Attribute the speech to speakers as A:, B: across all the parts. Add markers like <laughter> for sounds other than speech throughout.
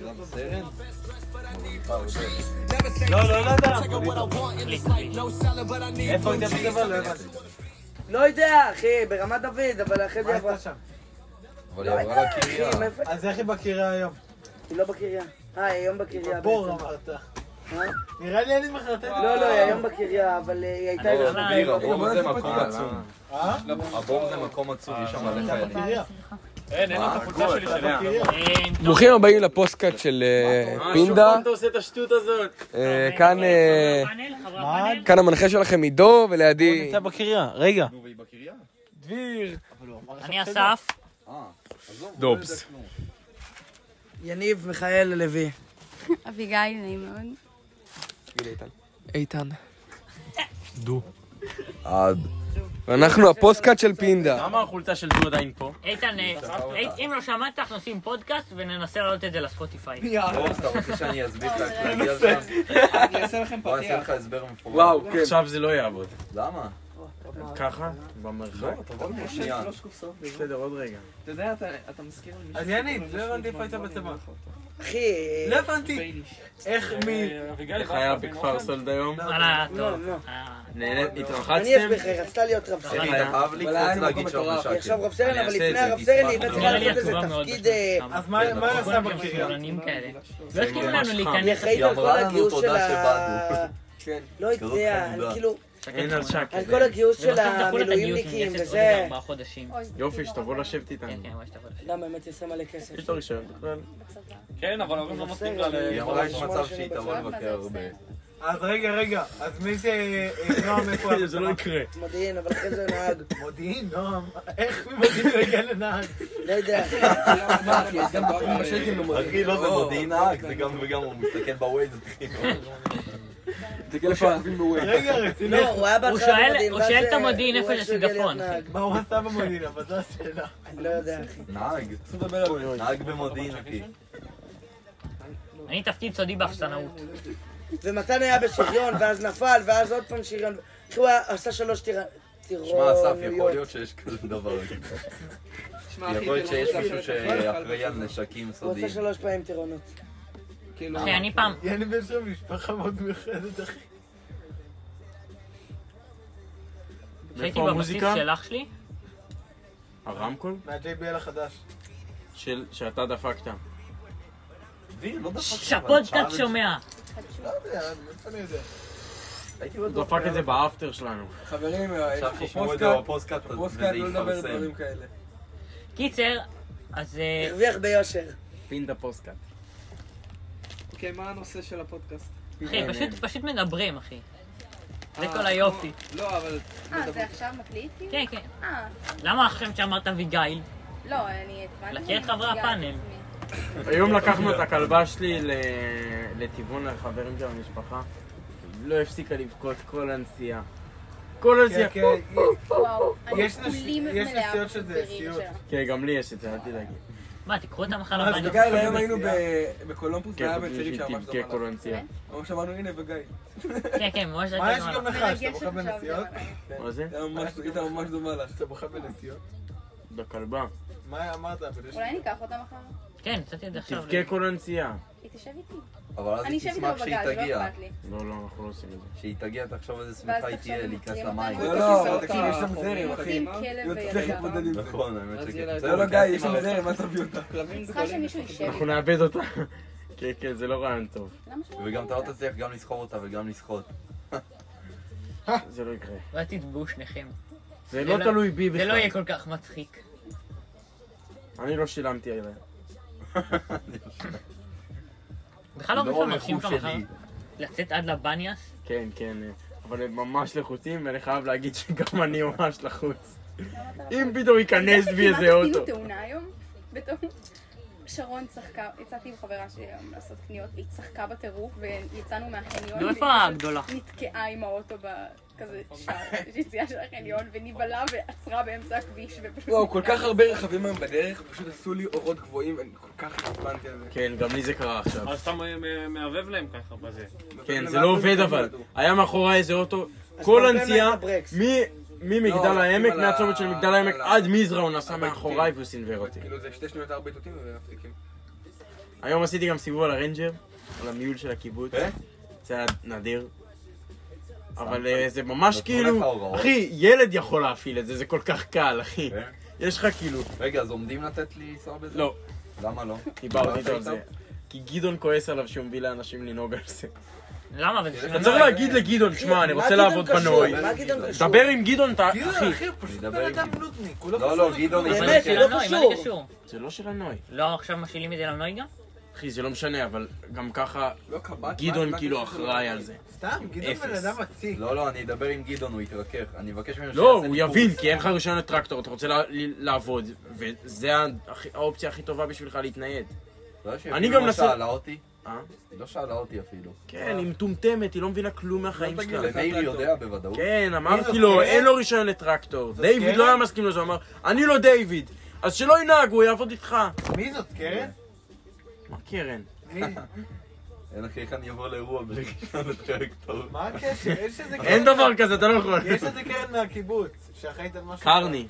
A: גם סרן?
B: לא, לא, לא יודע. איפה היית בגבל? לא הבנתי.
C: לא יודע, אחי, ברמת דוד, אבל אחרי
B: מה
C: זה עברה.
B: עשית שם?
A: אבל
C: לא
A: היא עברה
C: יודע, אחי,
A: לקריה.
C: מאיפה-
B: אז איך היא בקריה היום?
C: היא לא בקריה. אה, היא היום בקריה
B: בור
C: בעצם.
B: אמרת.
C: אה?
B: נראה לי אני מחרטט.
C: לא, לא, היא היום בקריה, אבל אה, היא הייתה...
A: לא,
C: איזה-
A: בלי, הבור זה
D: נשים
A: מקום
D: אותה.
A: עצום.
B: אה?
A: הבור זה מקום עצום, יש שם מלא חיילים.
B: בקריה.
E: אין, אין לו את החולצה שלי שלה.
B: בקריה.
D: ברוכים הבאים לפוסטקאט של אה, פינדה.
E: אתה עושה את השטות הזאת.
D: אה, כאן אה,
B: מה?
D: כאן המנחה שלכם עידו, ולידי...
B: נמצא בקריה. רגע.
A: נו, והיא בקריה?
D: דביר.
F: אני אסף.
A: אה, עזוב.
E: דובס.
C: יניב מיכאל לוי.
G: אביגיל, נעים מאוד.
F: איתן.
A: עד.
D: ואנחנו הפוסטקאט של פינדה.
E: למה החולצה של דו עדיין פה?
F: איתן, אה, אה, אם לא שמעת, אנחנו עושים פודקאסט וננסה להעלות את זה לספוטיפיי.
C: לא,
A: דובס, אתה רוצה שאני אסביר לך איך להגיע שם?
H: אני אעשה לכם
A: בוא, אני אעשה
H: פתיח.
A: לך הסבר מפורט.
E: עכשיו זה לא יעבוד.
A: למה?
E: ככה? במרחק.
A: לא, תבוא לפה שנייה.
H: שלוש קופסאות ביום.
E: בסדר, עוד רגע.
H: אתה יודע, אתה- אתה מזכיר לי מישהו.
B: אז יניב,
H: שקוראים
B: לא
H: לו
B: הבנתי
H: שמואל
B: איפה היית
H: מועלם,
B: בצבא.
H: אני אומר לך אותו.
C: אחי,
B: לא הבנתי.
H: בייניש.
B: איך מי...
E: איך היה בכפר סולד היום?
F: וואלה,
C: לא,
F: טוב.
C: לא.
F: אה,
C: אני
E: התרחצתם?
C: אסביר לך, היא רצתה להיות רב
A: אני
C: סרן.
A: חייב לקפוץ להגיד שעות
C: היא עכשיו
A: משקר.
C: רב סרן,
A: לא, אני
C: אבל
A: אעשה
C: לפני
A: את זה,
C: הרב סרן היא
A: תשמח.
C: הייתה צריכה
F: נראה לי
C: לעשות איזה
F: עצובה מאוד
C: תפקיד...
F: בשלב
C: אה,
F: שם.
B: אז מה מה היא עושה
F: כולם כאילו
B: בקריה?
F: שמאלנים כאלה. לא
H: זה
F: הסכימו לנו
C: היא
F: להיכנס.
C: אחראית על כל
A: אמרה לנו
C: הגיוס
A: תודה
C: של ה...
A: שבאנו. כן.
C: לא
A: קרות
C: יודע,
A: חמודה.
C: אני כאילו,
E: אין על
C: על
E: שקל.
C: כל הגיוס של
F: ובסוף דחו לה את הגיוס
C: המילואימניקים
F: מלכת עוד איזה
C: וזה...
F: ארבעה חודשים.
E: יופי, שתבוא לשבת
F: כן,
E: איתנו.
F: כן, ממש דחו לה.
C: למה, באמת יעשה מלא כסף.
E: יש לו רישיון בכלל?
H: כן, אבל ההורים לא נותנים לה ל...
A: היא אמרה יש מצב שהיא תבוא לבקר הרבה.
B: אז רגע, רגע. אז מי זה... אה, נועם איפה היה
E: זה לא יקרה.
C: מודיעין, אבל אחרי זה נהג.
B: מודיעין, נועם. איך ממודיעין הוא הגיע לנהג?
C: לא
F: <laughs>
C: יודע.
H: אה,
A: אחי, לא, זה מודיעין האק, זה גם וגם, הוא מסתכל בווייז, אחי.
B: רגע, רציני.
C: לא, הוא היה בהתחלה
F: שואל-
C: במודיעין.
F: הוא
C: ואז,
F: שואל את
C: אה,
F: המודיעין
C: הוא
F: איפה
C: איכשהו
F: זה
C: הגיע
F: שיגפון,
C: להיות נהג.
B: מה הוא עשה במודיעין? אבל זו השאלה.
C: אני לא יודע, אחי.
A: נהג. נהג במודיעין, אחי.
F: אני תפקיד סודי באפסנאות.
C: ומתן היה בשריון, ואז נפל, ואז עוד פעם שריון. אחי, הוא היה- עשה שלוש טירה-
A: שמע, אסף, יכול
C: טירוניות.
A: להיות שיש כזה דבר.
H: שמע, אחי,
A: יכול להיות
H: כאילו,
A: שיש
H: כאילו,
A: מישהו
H: כאילו,
A: שאחראי על נשקים
C: הוא
A: סודיים.
C: עשה שלוש פעמים טירונות. לא.
H: כאילו,
F: אחי, אני פעם...
B: יניב יש לו משפחה מאוד מיוחדת, אחי.
F: כשהייתי בבסיס
E: איפה המוזיקה?
F: של אח שלי,
E: הרמקול?
B: מה-JBL החדש.
E: של... שאתה דפקת.
A: דביר, לא דפקת, אבל
F: שהפודקאסט
A: שאל-
F: שומע.
B: לא יודע, איפה אני יודע?
A: הייתי בטוח.
E: דפק את זה באפטר שלנו.
H: חברים, אה,
A: עכשיו שישמעו את זה בפוסטקאט, וזה יתפרסם.
H: לא כאלה.
F: קיצר, אז... אה,
C: הרוויח ביושר.
E: פינדה פוסטקאט.
H: אוקיי, מה הנושא של הפודקאסט?
F: אחי, פשוט- פשוט מדברים, אחי. זה כל היופי.
H: לא, אבל...
G: אה, זה עכשיו מקליט? כאילו?
F: כן, כן.
G: אה,
F: למה אחרי שאמרת אביגיל?
G: לא, אני התכוונתי...
F: לקחת חברי
G: אני
F: הפאנל.
G: מציגה את עצמי.
E: <laughs> היום לקחנו את הכלבה שלי ל- לטבעון לחברים של המשפחה. לא הפסיקה לבכות כל הנסיעה. כל הנסיעה.
B: כן, כן.
G: וואו, אני
B: יש נש-
G: כולי
B: יש
G: מלאה
B: נסיעות שזה
G: בבירים
B: סיוט.
G: שלה.
E: כן, גם לי יש את זה, אל תדאגי.
F: מה, תיקחו אותם אחר
B: מה,
F: הבית.
B: זה
H: גיא, היום היינו ב- בקולומבוס, זה
E: כן,
H: היה
E: חוץ מזה
H: בצריף
E: שהיא
H: שממש
E: תבכה כל
H: דומה לה.
E: הנסיעה.
H: ממש אמרנו, הנה, וגיא.
F: כן, כן, ממש
B: מה
F: זה
B: יש גם לך? שאתה
G: מרגשת
B: בוכה
G: עכשיו
B: בנסיעות?
G: גם אני.
E: מה זה?
H: היא כן, ממש- היא הייתה ממש דומה לך.
B: שאתה בוכה בנסיעות?
E: בכלבה.
B: מה אמרת? אבל יש-
G: אולי ניקח אותם אחר?
F: כן, נתתי את זה עכשיו.
E: תבכה כל הנסיעה.
G: היא תשב איתי.
A: אבל אז
G: אני
A: היא
G: אשב איתו
A: תשמח שהיא
G: בגז, לא
A: תגיע.
G: אכפת לי.
E: לא, לא, אנחנו לא עושים את זה.
A: שהיא תגיע, תחשוב איזה
G: ואז
A: שמחה היא
G: תחשוב
A: תהיה
G: אם
A: להיכנס
G: עוצרים
A: למים.
G: אותנו.
H: לא, לא, תקשיב, יש שם זרם, אחי.
G: רוצים
H: מה?
G: כלב
H: לא תצליח
G: וילדה.
H: להתמודד עם זה.
A: נכון, האמת
H: אז
A: שכן.
H: יהיה לה-
A: בסדר,
H: לא, לא, גיא,
A: תעשי
H: יש שם
A: מלא.
H: זרם, אל תביא אותה.
G: צריכה שמישהו יישב איתי.
E: אנחנו נאבד אותה. <laughs> כן, כן, זה לא רעיון טוב.
G: למה שלא?
A: וגם אתה לא תצליח גם לסחוב אותה וגם לשחות.
E: זה לא יקרה.
F: ואז תתבעו שניכם.
E: זה לא תלוי בי
F: זה לא יהיה
E: בכלל.
F: כל כך מצחיק.
E: אני לא שילמתי עליה.
F: בכלל לא
A: לא
F: ראשון מרשים
A: רכוש
F: לך מחר
A: שלי.
F: לצאת עד לבניאס?
E: כן, כן, אה, אבל הם ממש לחוצים, ואני חייב להגיד שגם אני ממש לחוץ. אם פתאום ייכנס
G: אתה יודע
E: בי איזה
G: שכמעט
E: אוטו.
G: עשינו תאונה היום? בתור... שרון צחקה, יצאתי עם חברה שלי היום לעשות קניות, והיא צחקה בטירוף, ויצאנו מהחניון.
F: נו, לא, איפה
G: והיא
F: הגדולה? נכון.
G: פשוט נתקעה עם האוטו בכזה שער, יש יציאה של החניון, ונבהלה ועצרה באמצע הכביש, ופשוט...
H: וואו, לא, כל כך הרבה רכבים היום בדרך, פשוט עשו לי אורות גבוהים, אני כל כך התפנתי על זה.
E: כן, גם לי זה קרה עכשיו.
I: אז אתה מ- מ- מערבב להם ככה בזה.
E: כן, זה לא עובד אבל. היה מאחורי איזה אוטו,
C: אז
E: כל
C: נותן להם
E: הנסיעה,
C: את הברקס.
E: מ- ממגדל
H: לא,
E: העמק,
H: על ה-
E: מהצומת של מגדל העמק
H: על ה-
E: עד מזרע הוא נסע
H: הבית,
E: מאחוריי
H: כן.
E: והוא סינוור אותי.
H: כאילו זה שתי שניות ארבע איתותים ומפסיקים.
E: היום עשיתי גם סיבוב על הרנג'ר, על המיול של הקיבוץ.
A: באמת?
E: זה היה נדיר. אבל אה, זה ממש
A: נתנו לך
E: כאילו,
A: הוראות?
E: אחי, ילד יכול להפעיל את זה, זה כל כך קל, אחי.
A: כן?
E: יש לך כאילו,
A: רגע, אז עומדים לתת לי לנסוע בזה?
E: לא,
A: למה לא?
E: דיברתי איתו על זה. כי גדעון כועס עליו שהוא מביא לאנשים לנהוג על זה.
F: למה? אבל
E: אתה צריך להגיד לגדעון, שמע, אני רוצה לעבוד בנוי.
C: מה גדעון קשור?
E: דבר עם גדעון, אתה... אחי,
B: אחי, הוא פשוט
A: נדבר
B: בן
A: עם
B: אדם נודניק, הוא לא
A: לא,
B: קשור
A: לא, גדעון
B: לכלום.
A: ידבר.
C: באמת, זה לא
F: מה זה
C: קשור.
F: קשור?
E: זה לא של הנוי.
F: לא, עכשיו משילים את זה לנוי גם?
E: אחי, זה לא משנה, אבל גם ככה
H: לא קב"ט. מה-
E: גדעון
H: מה
E: כאילו
H: הקשר שלו
E: אחראי
H: לנוי?
E: על זה.
B: סתם, גדעון בן
E: אפס.
B: אדם מציק.
A: לא, לא, אני אדבר עם גדעון, הוא יתרכך. אני אבקש ממנו
E: לא,
A: שיעשה
E: הוא
A: לי
E: יבין,
A: קורס.
E: כי אין לך רישיון לטרקטור, אתה רוצה לה- לעבוד, וזה ה- הכי- האופציה הכי טובה בשבילך להתנייד.
A: אתה יודע שהיא
E: אני
A: אפילו
E: גם
A: לא
E: נסע-
A: שאלה אותי?
E: אה?
A: היא לא שאלה אותי אפילו.
E: כן, היא מטומטמת, היא לא מבינה כלום מהחיים שלה.
A: ומאיר יודע בוודאות.
E: כן, אמרתי
B: זאת
E: לו,
B: קרן?
E: אין לו רישיון לטרקטור. דיוויד
B: קרן?
E: לא היה מסכים לזה, הוא אמר, אני לא דיוויד, אז שלא ינהג, הוא יעבוד איתך.
B: מי זאת, קרן?
E: מה אה, קרן?
B: מי?
A: אין אחי, איך אני אבוא לאירוע בלי רישיון לטרקטור?
B: מה הקשר? יש איזה קרן.
E: אין דבר כזה, אתה לא יכול.
B: יש איזה קרן מהקיבוץ, שאחראית על משהו.
E: קרני,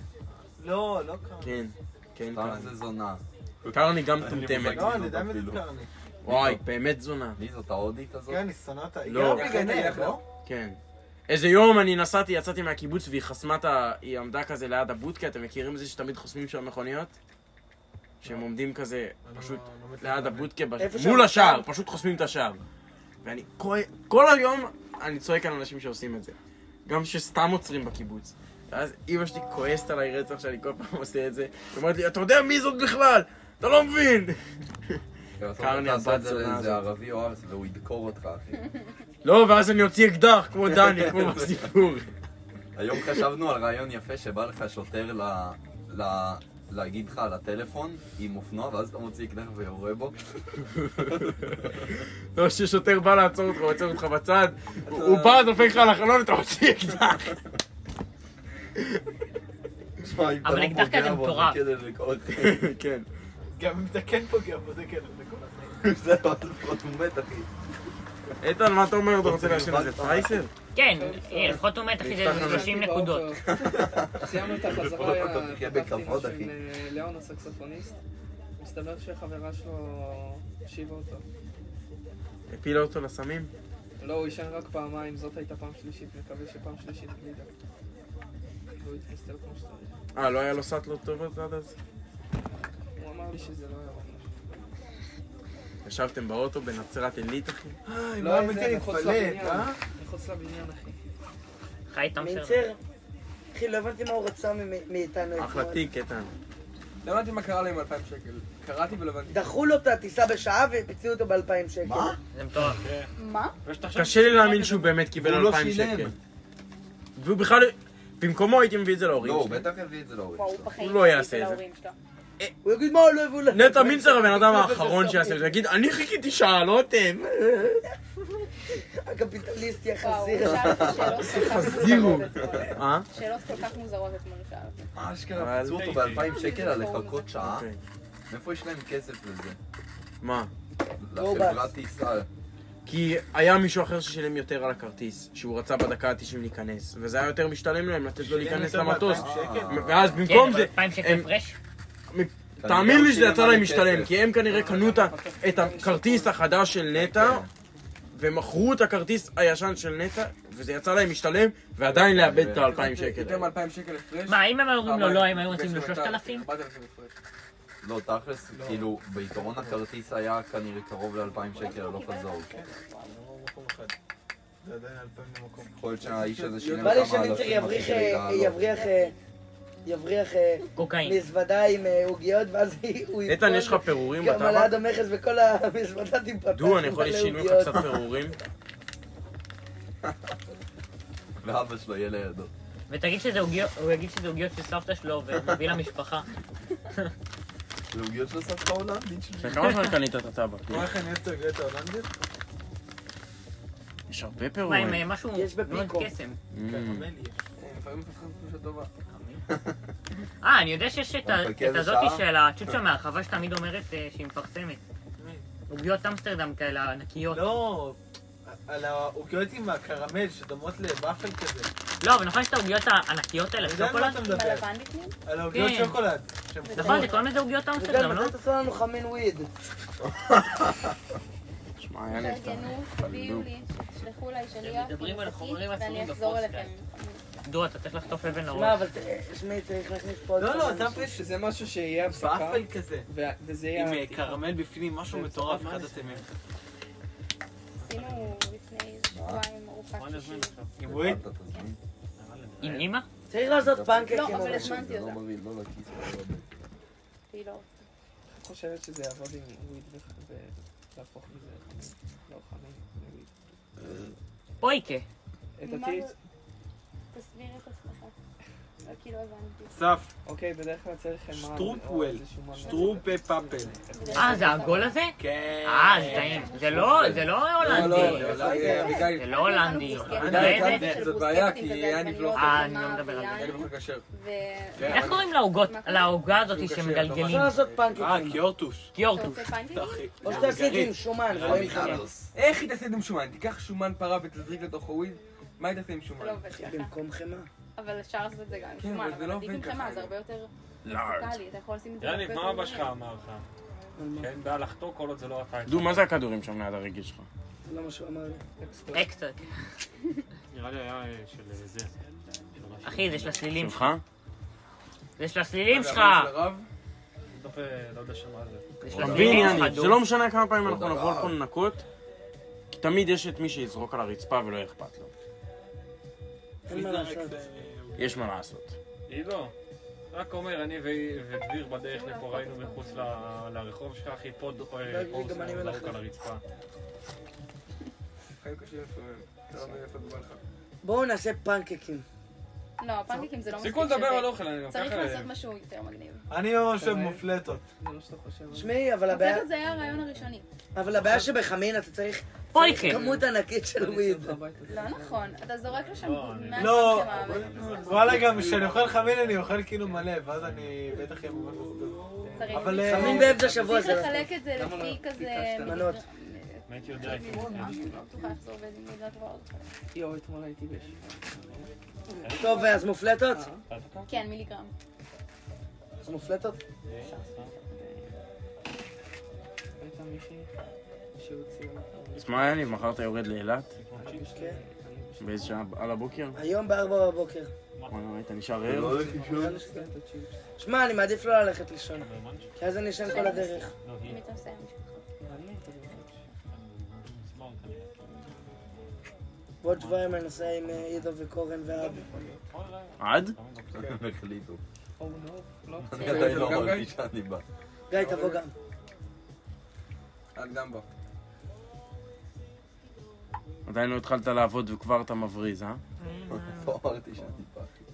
B: לא, לא קרני.
E: כן. כן,
A: סתם
E: קרני.
A: איזה זונה.
E: קרני גם
A: אין לי
E: מטומטמת.
B: לא, אני יודע מי
A: אפילו.
B: זה קרני.
E: וואי, באמת זונה.
A: מי זאת ההודית הזאת?
B: כן, אני שונא אותה. היא
E: לא.
B: גם מגנרת, לא?
E: כן. איזה יום אני נסעתי, יצאתי מהקיבוץ והיא חסמה את ה... היא עמדה כזה ליד הבודקה, אתם מכירים את זה שתמיד חוסמים שם מכוניות? שהם עומדים כזה, פשוט
B: לא מצליח
E: ליד הבודקה, בש-
C: איפה
E: מול
C: שהמצב?
E: השער, פשוט חוסמים את השער. ואני כואב, כל היום אני צועק על אנשים שעושים את זה. גם שסתם עוצרים בקיבוץ. ואז אימא שלי כועסת עליי רצח שאני כל פעם עושה את זה. היא אומרת לי, אתה יודע מי זאת בכלל? אתה לא מבין! קרני,
A: קרני עשה את זה
E: הבת זונה
A: לאיזה
E: הזאת.
A: ערבי או ארס והוא ידקור אותך אחי.
E: לא, ואז אני אוציא אקדח, כמו
B: <laughs>
E: דני, כמו בסיפור.
A: היום חשבנו על רעיון יפה שבא לך שוטר ל- ל- להגיד לך על הטלפון עם אופנוע ואז אתה מוציא אקדח ויורה בו.
E: לא, ששוטר בא לעצור אותך, הוא עוצר אותך בצד, הוא בא, דופק לך על החלון, אתה מוציא אקדח.
A: שמע, אם אתה
F: אבל
A: לא
F: אקדח
A: פוגע
F: כזה
A: בו, זה
F: מטורף.
A: כדי <laughs> לקרות.
E: <laughs> כן.
B: גם אם אתה כן פוגע בו, זה כן, זה כל החיים.
A: זהו, אז הוא מת אחי.
E: איתן, מה אתה אומר? אתה רוצה להשאיר איזה פרייסר?
F: כן, אה, לפחות הוא מת אחי זה איזה 30 נקודות.
J: סיימנו את
A: לפחות
J: החזרה,
A: אתה תחיה
J: פתחתי
A: בכבוד,
J: משהו עם
A: אחי.
J: אה, ליאון הסקסופוניסט. מסתבר שחברה שלו השיבה אותו.
E: הפילה אותו לסמים?
J: לא, הוא עישן רק פעמיים, זאת הייתה פעם שלישית, מקווה שפעם שלישית גלידה. והוא התמסתר כמו שצריך.
E: אה, לא היה לו סאטלות טובות עד אז?
J: הוא אמר לי שזה לא היה ממש.
E: ישבתם באוטו בנצרת עילית, אחי?
B: אה,
J: לא,
B: מה
J: איזה
B: מתי
J: מחוץ
B: להתפלט,
J: לבניין.
B: אה?
J: מחוץ לבניין, אחי.
F: חי איתם סרט.
C: מינצר, אחי, לא הבנתי מה הוא רצה ממ- מאיתנו.
J: כן.
E: אחלה
C: אתמול.
E: תיק, איתן.
H: לא הבנתי מה קרה להם 2,000 שקל. קראתי ולא הבנתי.
C: דחו לו את הטיסה בשעה והציעו אותו ב-2,000 שקל. מה?
F: זה מטורף.
G: מה?
E: קשה לי להאמין שהוא באמת
B: והוא
E: קיבל
B: לא
E: 2,000
B: שילם.
E: שקל. והוא בכלל... במקומו הייתי מביא את זה
A: לא,
E: להורים
A: הוא
E: שלי.
A: בטח הביא את זה להורים
G: וואו,
A: שלו.
G: בחיים
E: לא
G: שלי
E: יעשה את זה.
G: ולהורים שלו.
C: הוא יגיד, מה, לא הביאו לך?
E: נטע מינצר הבן אדם האחרון שיעשה את זה, יגיד, אני חיכיתי שעה, לא אתם.
C: הקפיטליסטי
G: וואו, הוא
C: החזיר.
G: שאל אותי שאלות כל כך
E: חזירו.
G: מוזרות אתמול.
E: אה?
G: שאלות כל כך מוזרות אתמול הוא שאל אותי.
A: אה,
E: אבל-
A: אשכרה פיצו אותו ב-2,000 שקל על לחכות שעה?
E: אוקיי.
A: מאיפה יש להם כסף לזה?
E: מה?
A: לחברת טיסה.
E: כי היה מישהו אחר ששילם יותר על הכרטיס, שהוא רצה בדקה ה-90 להיכנס, וזה היה יותר משתלם להם לתת לו להיכנס
B: יותר
E: למטוס.
B: מ- שקל?
A: אה,
E: ואז
F: כן,
E: במקום
F: אבל
E: זה,
F: 2,000 שקל
E: הם-
F: הפרש?
E: תאמין לי שזה
A: שילם
E: יצא
A: מלא
E: להם משתלם,
A: כסף.
E: כי הם כנראה קנו את ה- את הכרטיס החדש של נטע, ומכרו את הכרטיס הישן של נטע, וזה יצא להם משתלם, ועדיין לאבד את
B: כן,
E: ה-2,000 שקל.
H: יותר מ-2,000 שקל הפרש.
F: מה, אם הם היו אומרים לו לא, הם היו
H: הפרש
F: רוצים לו
H: של
F: 3,000?
H: 4,000 הפרש.
E: כן.
A: לא, תכלס, כאילו, בעיקרון הכרטיס היה כנראה קרוב ל-2,000 שקל
E: לא
A: לא הלוך חזור.
B: זה עדיין אלפיים במקום.
A: יכול להיות שהאיש הזה שילם
C: בא לי
A: כמה
C: שמינצר
A: אלפים אחי,
C: יבריח,
A: כדי
C: אה,
A: לעלות.
C: יבריח, אה, יבריח אה,
F: קוקאין.
C: מזוודה עם אה, עוגיות, ואז <laughs> היא- הוא ייפול.
E: איתן, יש לך פירורים
C: גם על
E: בטבק?
C: יד המכס וכל המזוודה תיפתח.
E: דו, אני יכול
C: מלא
E: לשינוי לך
C: עוגיות. <laughs>
E: קצת פירורים?
A: ואבא שלו יהיה לידו.
F: ותגיד שזה עוגיות, הוא יגיד שזה עוגיות של סבתא שלו ומביא למשפחה.
A: זה עוגיות של סבתא הולנדית שלי.
E: <laughs> בכמה זמן קנית את הטבק?
B: מה איך אני אוהב את הגרט ההולנדית?
E: יש הרבה
F: מה,
E: פירורים.
F: עם אה, משהו
C: יש
F: מאוד
C: בפיקו.
F: קסם.
E: Mm.
H: אה, לפעמים מפתחים תחושה טובה.
F: אה, אני יודע שיש את ה-
A: אתה מחכה
F: את
A: איזה
F: הזאתי
A: שעה?
F: של הצ'וצ'ה מהרחבה שתמיד אומרת אה, שהיא מפרסמת. עוגיות אמסטרדם כאלה ענקיות.
B: לא, על העוגיות עם הקרמל שדומות לבאפל כזה.
F: לא, אבל נכון יש את העוגיות הענקיות האלה, לא
B: יודע על מה
F: שוקולד?
B: אתה
G: עם
B: מדבר.
G: הלבן בפנים?
B: על העוגיות
F: כן.
B: שוקולד. שהן
F: נכון,
B: כחולות.
F: זה קוראים לזה עוגיות אמסטרדם,
C: וגם
F: לא?
C: מתי תעשו לנו חמין וויד.
E: שמע, היה לי הפתעה.
G: תארגנו, תביאו לי, תשלחו אליי שליח,
F: מדברים על החומרים
G: עם שקית,
F: האסורים
G: ואני אחזור
F: בפוסטקאסט.
G: אליכם.
F: דודו, אתה צריך לחטוף אבן
C: שמע,
F: לראש.
C: אבל ת- שמי, צריך להכניס פה עוד
J: לא,
C: כמה
J: לא,
C: אנשים.
J: שמת לב שזה משהו שיהיה הפסקה,
I: פאפל כזה,
J: ו- וזה יהיה...
I: עם אה, קרמל בפנים, משהו מטורף, אחד התמים.
G: עשינו לפני שבועיים ארוחת
I: בוא נזמין
G: שישי.
I: עכשיו. עם וויד?
A: אתה תזמין.
F: עם אימא?
C: צריך לעשות פנקקים.
G: לא,
C: או
G: אבל
C: משהו.
G: הזמנתי
A: זה לא
G: אותה.
A: מבין, לא לכיס. לא בבית.
G: היא לא...
J: את חושבת שזה יעבוד עם וויד ו- ולהפוך מזה לחמין? לא חמין, לוויד.
F: אויקה.
J: את הטיט?
G: תסבירי את עצמך. לא, כי לא הבנתי.
I: סף,
J: אוקיי, בדרך כלל צריך... חמאה או
I: שטרופוול,
J: איזשהו מנגו.
I: שטרופה פאפל.
G: כאילו
F: אה, זה העגול הזה?
I: כן.
F: אה, זה טעים. זה לא, זה לא הולנדי.
H: לא, לא, זה
F: זה
H: אביגיל.
F: לא הולנדי.
H: אביגיל,
F: באמת?
H: גם- זאת בעיה, כי היה נבלוק.
F: אה, אני לא מדבר על זה.
H: היה לי כל כך כשר. כן,
F: איך
H: אבל-
F: קוראים לעוגות,
G: מה קורה?
F: לעוגה הזאת
H: שהוא קשה,
F: שמגלגלים?
C: צריך לעשות
I: אה,
C: פנקקים.
I: קיורטוש.
G: אתה
F: קיורטוש.
G: רוצה
H: לא,
G: פנקייקים?
C: או שתעשי את זה
E: אה,
C: עם שומן, ולא עם חמין.
A: רמינדוס.
H: איך היא תעשה את זה עם שומן? תיקח שומן פרה ותזריק לתוך הוויד? מה היא תעשה עם
G: זה לא
H: שומן?
G: עובד
E: אה,
G: ככה.
C: במקום חמאה.
G: אבל אפשר לעשות את זה גם עם
H: כן,
G: שומן,
H: אבל זה
G: אבל
H: לא
G: עדיף עם
H: עובד ככה.
G: חמאה, זה הרבה יותר מוזיקלי, אתה יכול לשים את זה הרבה
I: יניב,
G: יותר
I: מה אבא
G: מהר.
I: שלך אמר לך? שאין בעיה לחטוא כל עוד זה לא אתה.
E: דו, מה זה הכדורים שם ליד הרגל שלך?
C: זה לא מה שהוא אמר לי.
E: אה,
F: אקסטר.
I: נראה לי היה אה, של אה, זה.
F: אחי, זה של הסלילים שלך.
E: שלך?
F: זה של
C: לא,
F: הסלילים שלך.
H: והבן של הרב?
I: בסוף, אה, לא יודע שמה זה.
F: זה של
E: אתה
F: הסלילים
E: מבין, יניב,
F: שלך,
E: זה
F: דו.
E: לא משנה כמה פעמים אנחנו
A: דבר.
E: נבוא לפה לנקות, כי תמיד יש את מי שיזרוק על הרצפה ולא אכפת לו.
C: אין
E: אה,
C: מה לעשות.
E: יש מה לעשות.
I: היא לא. רק אומר, אני ו- ודביר בדרך לפה ראינו מחוץ ל- לרחוב שלך, אחי, פה ד- אה,
C: גם
I: פורס
C: אני
I: זרוק
C: מלחך.
I: על הרצפה.
H: חיים קשים לפעמים. אתה לא מבין איפה זה בא לך.
C: בואו נעשה פנקקים.
G: לא, פנקייקים זה לא מספיק
I: תפסיקו לדבר על אוכל, אני גם
G: צריך
I: ככה...
G: לעשות משהו יותר מגניב.
B: אני ממש אוהב מופלטות.
J: זה לא שאתה חושב.
C: שמעי, אבל הבעיה...
G: הפלטות זה היה הרעיון הראשוני.
C: אבל הבעיה שבחמין אתה צריך
F: אויקה.
C: כמות ענקית של
J: אני
C: וויד.
J: אשלח לך הביתה.
G: לא נכון, אתה זורק לשם
I: לא, אני-
G: מה
B: לא.
G: שאתה מאמין.
B: וואלה, גם כשאני אוכל חמין אני אוכל כאילו מלא, ואז אני בטח אהיה ממש מסתובב.
G: צריך-
B: אבל, אה,
C: חמין באמצע השבוע
G: צריך
C: זה... לא-
G: לחלק את זה לפי כזה...
C: מנות?
I: אם הייתי יודע הייתי
G: אני לא בטוחה איך זה עובד עם מידת ועוד.
J: יואו, אתמול הייתי בש...
C: טוב, אז מופלטות?
I: אה,
G: כן, מיליגרם.
C: אז מופלטות?
I: כן.
J: הייתה מישהי שהוציאה אותה.
E: אז מה, יניב, מחר אתה יורד לאילת?
J: אני בש-
C: כן.
J: אני בש-
E: באיזה שעה? על הבוקר?
C: היום בארבע בבוקר.
E: וואלה, היית נשאר ער?
J: אני לא שותה את הצ'יפס.
C: שמע, אני מעדיף לא ללכת לישון. כי אז אני אשן כל הדרך.
G: מי אתה עושה?
J: אני הייתי בש-
C: בעוד שבועיים אני נוסע עם אה, עידו וקורן ואבי.
E: עד?
A: הם החליטו.
J: או לא, לא.
A: אני עדיין לא אמרתי שאני בא.
C: גיא, תבוא גם.
H: את גם בא.
E: עדיין לא התחלת לעבוד וכבר אתה מבריז, אה?
A: לא אמרתי שאני בא. אחי.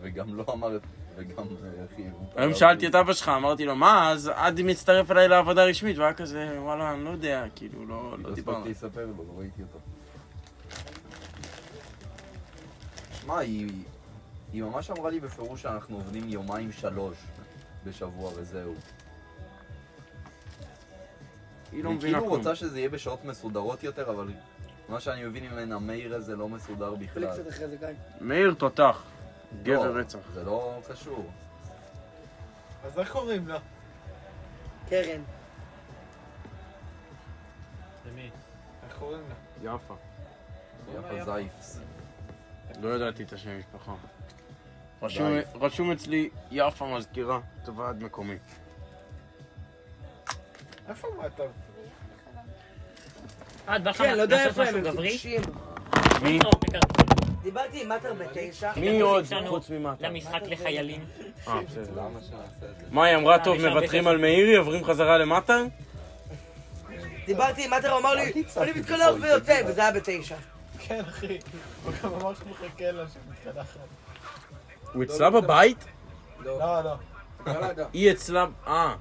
A: וגם לא אמרת, וגם אה, אחי. הוא
E: היום
A: בא
E: שאלתי את אבא שלך, אמרתי לו, מה, אז עד מצטרף אליי לעבודה רשמית, והיה כזה, וואלה, אני לא יודע, כאילו, לא
A: לא
E: לא
A: הספקתי
E: דיברנו.
A: לספר לו, לא ראיתי אותו. שמע, היא... היא ממש אמרה לי בפירוש שאנחנו עובדים יומיים שלוש בשבוע וזהו.
E: היא לא
A: היא
E: מבינה
A: כאילו
E: כלום.
A: רוצה שזה יהיה בשעות מסודרות יותר, אבל מה שאני מבין ממנה, מאיר הזה לא מסודר
C: תולי
A: בכלל.
C: קצת אחרי זה, גיא.
E: מאיר תותח, גבר
A: לא,
E: רצח.
A: זה לא קשור.
B: אז איך קוראים לה?
C: קרן.
B: איך קוראים לה?
E: יפה.
A: יפה זייפס.
E: לא ידעתי את השם משפחה. רשום- רשום אצלי יפה מזכירה, זה ועד מקומי.
B: איפה הוא אתה?
F: אה, בא לך
C: כן, לא יודע
F: לעשות
C: איפה הם,
F: משהו
C: הם
F: גברי? לא
C: טיפשים.
E: מי?
F: טוב, מקרקעין.
C: דיברתי עם מטר בתשע.
E: מי עוד
F: שלנו
E: חוץ ממטה?
F: למשחק לחיילים.
E: אה, בסדר.
A: למה שנעשה את זה?
E: מה, היא אמרה,
F: אה,
E: טוב,
F: נשאר
E: מוותרים
F: בכסף."
E: על מאירי, עוברים חזרה למטה?
C: דיברתי עם מטר, הוא אמר לי, אני מתקלח ויוצא, וזה היה בתשע.
B: כן, אחי. הוא גם אמר שהוא מחכה לה שמתקלחת.
E: הוא אצלה בבית?
B: לא, לא.
H: לא יודע.
E: היא אצלה... אה,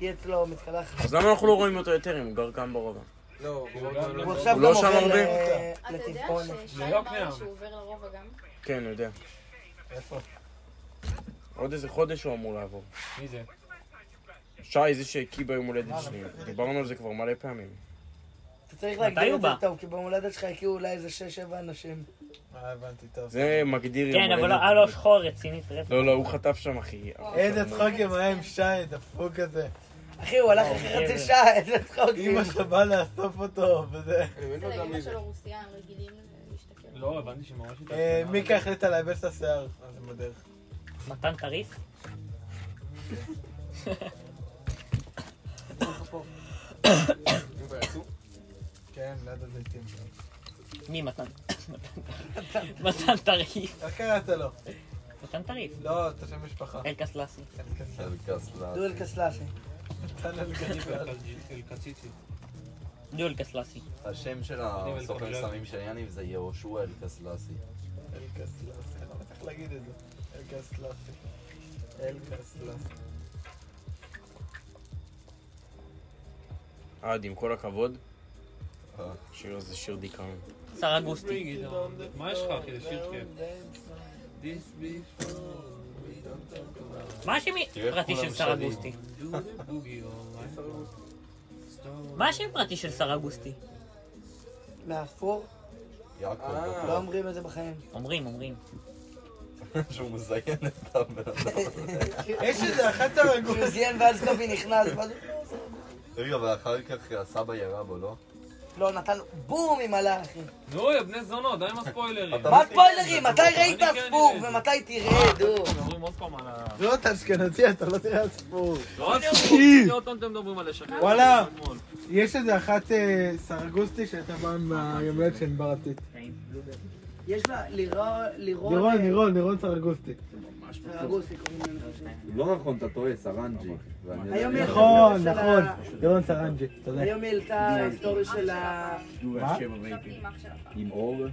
C: היא אצלו מתקלחת.
E: אז למה אנחנו לא רואים אותו יותר אם הוא גר כאן ברובע?
H: לא, הוא לא-
C: הוא עכשיו גם
E: לא שם
C: עובר אה,
E: הרבה?
C: ל-
G: אה, אתה יודע
C: לטבעון.
G: ששי אמר לי שהוא עובר לרובע גם?
E: כן, אני יודע.
B: איפה?
E: עוד איזה חודש הוא אמור לעבור.
I: מי זה?
E: שי זה שהקיא ביום הולדת שלי, דיברנו על זה כבר מלא פעמים.
C: אתה צריך
F: מתי
C: להגדיר
F: הוא
C: את זה
F: בא?
C: טוב, כי במולדת שלך הכירו אולי איזה 6-7 אנשים.
B: אה, הבנתי, טוב.
E: זה מגדיר... יום
F: כן, אבל
E: הולדת.
F: היה לו שחור רצינית רצח.
E: לא, לא, הוא חטף שם, אחי.
B: איזה
I: נכון.
B: צחוקים היה עם שי, דפוק הזה.
C: אחי, הוא הלך אחרי חצי
I: אוקיי,
F: גבר.
C: שעה, איזה כאילו. צחוקים.
B: אמא שלו באה לאסוף אותו,
I: <laughs>
B: וזה...
H: לא
G: בסדר, אמא שלו רוסיה, הם רגילים אה, להשתכר.
I: לא, הבנתי שממש
B: אה, מיקה החליטה לייבש את השיער, אז זה בדרך.
F: מתן כריס?
B: כן, ליד הזיתים.
F: מי מתן? <laughs> מתן טריף.
B: איך קראת לו?
F: מתן טריף.
B: לא, את השם משפחה.
I: אה.
F: אלקס לאסי.
C: דואל קסלאסי.
B: נתן אלגדל.
F: נו אלקס לאסי.
A: השם של הסוחר סמים של יניב זה יהושע אלקסלסי.
E: אה.
B: אלקסלסי, אני לא צריך להגיד את זה. אלקסלסי. אלקסלסי.
E: עד, עם כל הכבוד. השיר הזה שיר דיכאון.
F: שר אגוסטי.
I: מה יש לך, אחי? כן. זה שיר כיף.
F: מה השם
A: תראה איך
F: פרטי
A: כולם
F: של שר
A: שרים.
F: אגוסטי? מה השם פרטי של שר אגוסטי?
C: מהאפור,
A: יעקב,
C: לא
A: בטוח
C: אומרים את זה בחיים.
F: אומרים, אומרים.
A: שהוא מזיין את הבן אדם.
B: יש איזה אחת הרגועה.
C: הוא זיין ואז קובי נכנס, ואז הוא...
A: רגע, אבל אחר כך הסבא ירה בו, לא?
C: לא, נתן בום עם הלה, אחי.
I: נו, יא בני זונות, די עם הספוילרים.
A: אתה-
C: מה הספוילרים? מתי ראית
I: אני כן
C: הפור
I: אראה את זה.
C: ומתי תראה, דו?
I: אתם מדברים עוד פעם על ה...
B: לא, אתה אשכנזי, אתה לא תראה על סיפור.
I: לא, אסור, עוד פעם אתם מדברים על לשחרר.
B: וואלה. יש איזה אחת אה, סרגוסטי שהייתה פעם ביום הולדת של ענבר עתיק.
C: יש לה לירון... אה,
B: לירון, לירון, לירון סרגוסטי.
C: סרגוסי קוראים לה, אני חושב.
A: לא נכון, אתה טועה, סרנג'י. ואני-
C: היום היא-
B: נכון,
C: לא של ה-
B: נכון. לירון סרנג'י, תודה.
C: היום היא העלתה היסטוריה של ה...
B: מה?
G: עכשיו היא עם אח שלה.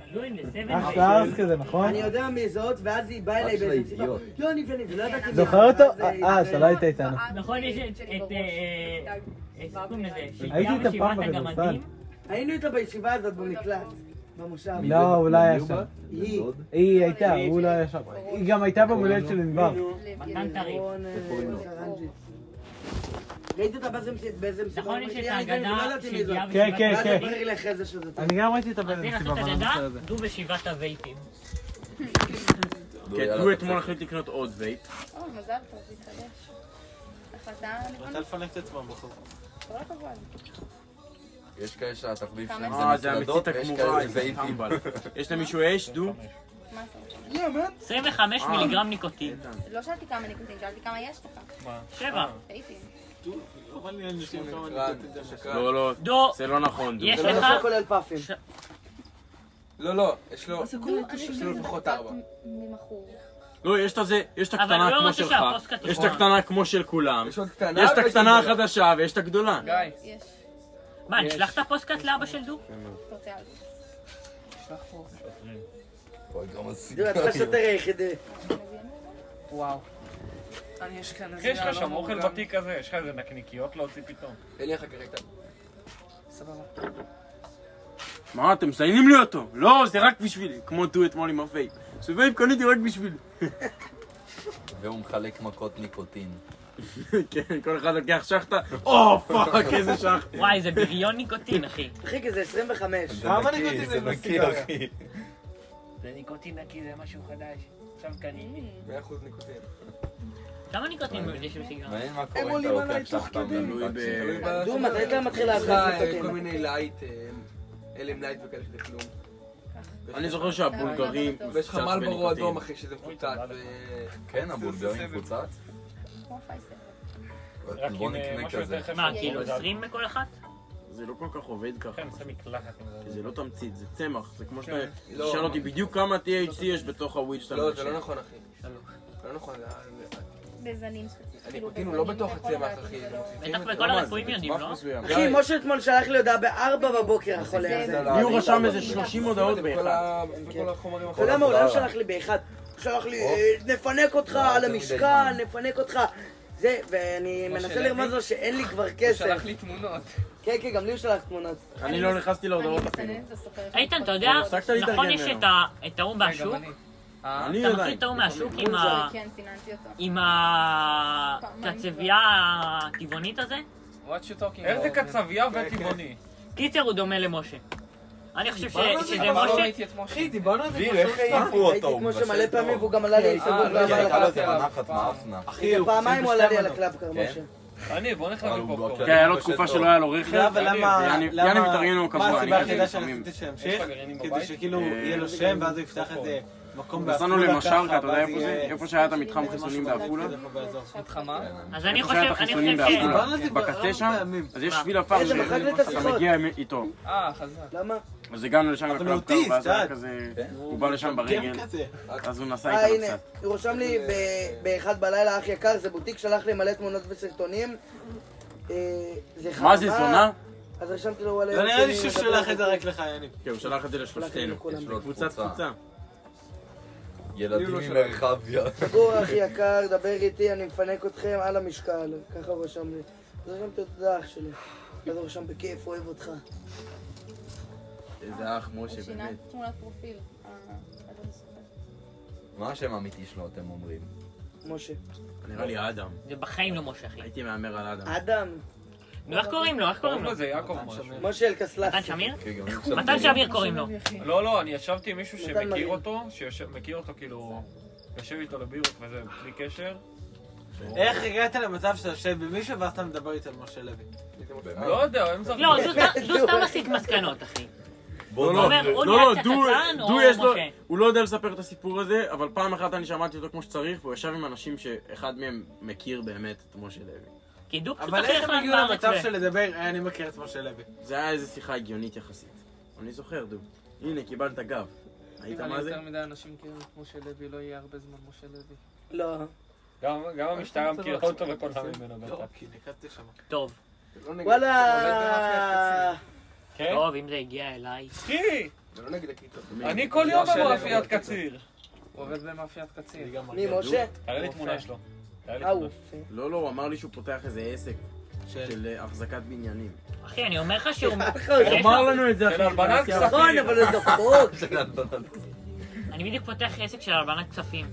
B: אח לארס כזה, נכון?
C: אני יודע מי זאת, ואז היא באה אליי
A: של
C: באיזה סיבה.
A: האידיוט.
C: לא, אני ואני, ולא ידעתי... מי
B: זוכר
C: זאת,
B: אותו?
C: ואז היא-
B: אה, שלא היית איתנו.
F: נכון, יש את-
G: שלי
F: את,
G: בראש.
F: אה, איך קוראים לזה?
B: הייתי איתה פעם
F: שבעת
B: בכדורסל.
F: הגמדים?
C: היינו איתה בישיבה הזאת במקלט, במושב.
B: לא, הוא לא היה
A: מי
B: שם.
A: בא?
C: היא.
A: דוד?
B: היא הייתה, הוא לא היה שם. היא גם הייתה במולדת של ענבר.
F: מתן טריף.
C: לירון, אה,
A: קוראים לו?
C: סרנג'י. ראיתי אותה באיזה מסיבה, באיזה מסיבה.
F: נכון, יש
C: אמרתי,
F: את
C: "יאללה, אני
F: ההגדה
C: לא ידעתי מי זאת."
F: שהגיעה
B: כן,
F: בשבעת
B: כן,
C: ואז
B: כן.
F: הגמדים.
C: התברר לי אחרי זה שזאת.
B: אני גם ראיתי אותה
F: אז זה
B: באיזה
F: לעשות
B: מסיבה,
F: את
B: אבל אני לא
F: הגדה,
B: זוכר את זה.
F: דו בשבעת הווייפים.
E: כן, הוא אתמול החליט לקנות עוד וייפ.
G: אוי, מזל טוב, להתחדש. החלטה נכונה.
B: לפנק את עצמם בחור.
G: כל הכבוד.
A: יש כאלה שהתחביב שלהם זה
E: אה, זה
A: מפלדות,
E: המצית
A: ויש
E: הכמורה,
A: כאלה
E: איזה
A: וייפים. <laughs>
E: טמבל. יש למישהו אש, דו?
G: מה עשית?
F: 25 מיליגרם ניקוטין.
G: לא שאלתי כמה ניקוטין, שאלתי כמה יש לך.
F: שבע.
G: טעיתי.
E: לא, לא,
F: דו,
E: זה לא נכון, דו.
F: יש
C: זה
F: לך...
C: לא כולל פאפים.
H: לא, לא, יש לו...
G: יש
H: לפחות ארבע.
G: ממכור.
E: לא, יש את הזה, יש את
F: אבל הוא
E: הקטנה
F: לא
E: כמו
F: רוצה
E: שלך.
F: שהפוסטקאט
E: יש את
F: יחורה.
E: הקטנה כמו של כולם.
H: יש עוד קטנה
E: יש את
H: ויש
E: הקטנה
H: עוד גדולה.
E: החדשה ויש את הגדולה.
H: גיא,
G: יש.
F: מה, נשלח את הפוסטקאט לאבא של דו?
G: אתה רוצה על זה.
A: אוי, כמה
C: תראו, אתה השוטר היחידי.
J: וואו. אני אשכנזי.
I: יש לך
J: הלא
I: שם אוכל
J: מאורגן.
I: בתיק כזה, יש לך איזה נקניקיות להוציא פתאום.
H: אליך כרגע.
J: סבבה.
E: מה, אתם מזיינים לי אותו? לא, זה רק בשבילי. כמו דו אתמול עם הווייפ. זה וייפ קניתי רק בשבילי.
A: והוא מחלק מכות ניקוטין.
E: <laughs> כן, כל אחד לוקח שחטה, או פאק, איזה שחטה.
F: וואי, זה בריון ניקוטין,
J: <laughs>
F: אחי.
C: אחי, כי זה 25.
B: כמה
A: נקי,
B: ניקוטין
A: זה
B: זה
A: נקי,
B: בסיגריה?
A: אחי.
J: זה ניקוטין נקי, זה משהו חדש. עכשיו קניתי.
H: 100% ניקוטין.
F: כמה ניקוטין יש בסיגרם?
A: מעניין מה קורה אם אתה לוקח שחטה
E: תלוי
A: מהמשחק
E: ב-
A: שלך.
C: דו, מתי אה, אתה מתחיל
H: יש
C: לעשות
H: לך אה, כל
C: ניקוטין?
H: מיני לייט, אה, אלם לייט וכאלה שזה כלום.
C: אה.
E: אני זוכר שהבולגרים...
F: לא
H: ויש לך
E: מפוצץ
H: מלבורו
E: בניקוטין.
H: אדום אחי שזה מפוצץ. ו-
A: כן, הבולגרים מפוצץ.
G: כמו פייסל.
I: רק
A: בוא
I: עם אה,
A: נקנה
I: משהו יותר
A: לא כזה.
I: חשוב.
F: מה, כאילו 20 מכל אחת?
E: זה לא כל כך עובד ככה.
I: כן, עושה מקלחת עם זה.
E: זה לא תמצית, זה צמח. זה כמו שאתה...
H: לא.
E: תשאל אותי בדיוק כמה THC יש בתוך הוויד שאתה
H: לא, זה
E: מבשל.
H: לא נכון אחי. זה לא נכון. זה-
F: כאילו,
H: זה-
G: בזנים ספציפיים.
H: הניקוטין הוא לא בתוך הצמח אחי.
G: לא-
H: זה מוסיפים
F: בטח
H: את זה.
F: בכל
E: מה, זה
F: הרפואים יודעים,
E: בטווח
F: לא?
E: מסוים.
H: כן.
C: אחי, משה אתמול שלח לי הודעה ב-4 בבוקר, החולה הזה.
G: זה
A: לא,
H: לי
E: לי הוא
A: אני
E: רשם
A: לא
E: איזה
A: בטוח.
E: 30 הודעות
H: בכל
E: באחד.
H: ה- בכל החומרים
C: אתה יודע מה,
H: החולים.
C: הוא לא שלח לי באחד. הוא שלח לי, אה, נפנק אותך על המשכן, נפנק אותך. זה, ואני מנסה
J: שלח
C: לרמוז לו שאין לי כבר
J: הוא
C: כסף.
J: שלח לי תמונות.
C: כן, כן, גם לי הוא שלח תמונות.
E: אני לא נכנסתי להודעות אפילו.
F: איתן, אתה יודע,
E: הפסקת להתארגן
F: נכון יש
E: היום.
F: את ה- את ההוא
J: רגע,
F: מהשוק?
J: גם אני. אה?
E: אני
F: אתה מכיר
E: עדיין.
F: את ההוא מהשוק עם ה...
G: כן, סיננתי אותו.
F: עם ה... את הצבייה הטבעונית הזה?
J: What you talking about?
I: כן, איזה קצבייה וטבעוני.
F: קיצר, הוא דומה למשה. אני חושב ש-
J: אבל
F: שזה
J: לא
F: משה...
J: ראיתי את משה.
H: אחי, דיברנו על זה
A: דביר, איך העיפו
C: הייתי
A: אותו? הוא
C: כמו שמלא
A: מבשל
C: פעמים
A: טוב.
C: והוא גם עלה לי על
J: אה,
C: סיבוב, לא
A: כן,
J: אבל
C: עלה
A: הייתה
C: על
A: לו
J: עליו.
A: איזה מנה חטמה אפנה.
H: אחי, הוא
C: פעמיים הוא עלה לי על הקלאבקר,
A: כן?
C: משה.
I: אני, בוא נלך
A: אבל הוא לא
I: לפופקורן.
A: בקטע.
I: כן,
A: היה לו תקופה שלא היה
E: לו
B: כן,
E: רכב.
H: לא, אבל למה...
E: יעני-
H: למה-
E: יעני מתארגן לו קבוע,
H: מה
E: אני
H: הסיבה
E: גם כן
H: היחידה
E: לפעמים. אה, נכון.
H: שרציתי
I: יש
H: שימשיך?
I: לך גרעינים
H: כדי
I: בבית?
H: שכאילו יהיה לו שם, ואז הוא יפתח איזה מקום
E: נסענו למשרקה, אתה יודע איפה זה? איפה שהיה את המתחם
B: כן,
E: חיסונים בעפולה?
J: איתך מה?
F: אז אני
E: איפה
F: חושב,
E: שהיה את
F: אני
E: החיסונים
F: חושב ש...
E: בעפולה.
H: דיברנו על זה כבר
E: בקצה
H: ארבע
E: שם,
H: פעמים.
E: אז יש שביל עפר
C: איזה מחלק
E: שאתה
C: לתפיסות.
E: מגיע איתו.
J: אה, חזק.
C: למה?
E: אז הגענו לשם
H: אבל הוא
E: לקלאבקר,
H: אוטיסט, כן,
E: ואז היה
H: אה?
E: כזה... הוא בא לשם ברגל,
B: כן,
E: אז הוא נסע
C: אה,
E: איתנו
C: הנה,
E: קצת.
C: הוא רושם לי ב- באחד בלילה, אח יקר, זה בוטיק שלח לי מלא תמונות וסרטונים. אה,
E: מה זה
C: חרמה.
E: זונה?
C: אז רשמתי לו וואלה...
H: לא
C: יום
H: נראה לי
C: שני,
H: שהוא
C: נדבר
H: שלח
C: על
H: את זה רק לך, יניב.
E: כן, הוא שלח את זה
C: שלחתי
E: לשלושתנו. לא,
C: לכולם.
A: יש לו
E: קבוצת
A: תפוצה.
E: תפוצה.
A: ילדים ממרחביה.
C: גור אחי יקר, דבר איתי, אני מפנק אתכם על המשקל. ככה הוא רשם לי. אז רשמתי לו תודה אח שלי. אז הוא רשם בכיף, אוהב אותך.
E: איזה אח,
G: הוא
E: משה,
G: שינה
E: באמת.
G: תמונת פרופיל. אה, אדון סופר.
A: מה השם האמיתי שלו, אתם אומרים?
C: משה.
E: נראה לי אדם.
F: זה בחיים לא משה, אחי.
E: הייתי מהמר על אדם.
C: אדם.
F: נו, איך קוראים לו? איך קוראים לו?
I: זה יעקב משהו.
C: משה אלקסלסי.
F: מתן שמיר?
A: כן, גם
F: מתן שמיר קוראים לו.
I: לא, לא, אני ישבתי עם מישהו
C: נתן מרים.
I: שמכיר אותו, שמכיר אותו כאילו, יושב איתו לבירות וזה, בלי קשר.
H: איך הגעת למצב שאתה יושב במישהו ואז אתה מדבר איתי על משה לוי?
A: באמת?
I: לא יודע, הם זרקו.
F: לא, דו סתם- דו סתם מסיק מסקנות, אחי.
A: בוא
F: לא,
A: נעבור.
F: הוא
E: לא, לא,
F: נהיה
E: דו,
F: צחצחן
E: דו
F: או
E: יש לו,
F: משה?
E: הוא לא יודע לספר את הסיפור הזה, אבל פעם אחת אני שמעתי אותו כמו שצריך, והוא ישב עם אנשים שאחד מהם מכיר באמת את משה לוי.
F: כי דו פשוט
H: אבל
F: הכי
H: איך הם
F: נחמד
H: הגיעו
F: בארץ.
H: למצב
F: ו-
H: של לדבר, "אה, אני מכיר את משה לוי?
E: זה היה איזו שיחה הגיונית יחסית. אני זוכר, דו. הנה, קיבלת גב. היית
J: אם אני
E: מה זה?
J: יותר מדי אנשים כאילו את משה לוי, לא יהיה הרבה זמן משה לוי.
C: לא.
I: גם גם המשטרה מכירה אותו וקונה ממנו
H: לא,
I: בטח.
H: כי נקזתי שם.
F: טוב,
J: זה לא נגד- זה עובד במאפיית
C: וואלה.
J: קצין.
I: כן?
F: טוב, אם זה הגיע אליי.
I: אחי,
H: זה לא נגד הכיתות.
I: אני כל יום
J: משה
I: במאפיית
J: לוי.
I: קציר.
J: הוא עובד במאפיית קצין.
C: מי, משה?
I: תראה לי
J: רופא.
I: תמונה שלו. תראה לי
C: אה, הוא.
I: תמונה.
C: יפה.
E: לא, לא, הוא אמר לי שהוא פותח איזה עסק של אה, החזקת בניינים.
F: אחי, אני אומר לך שהוא...
E: הוא אמר לנו את זה,
I: של הלבנת
E: בעשייה.
I: כספים.
C: נכון, אבל זה דפוק.
F: אני בדיוק פותח עסק של הלבנת כספים.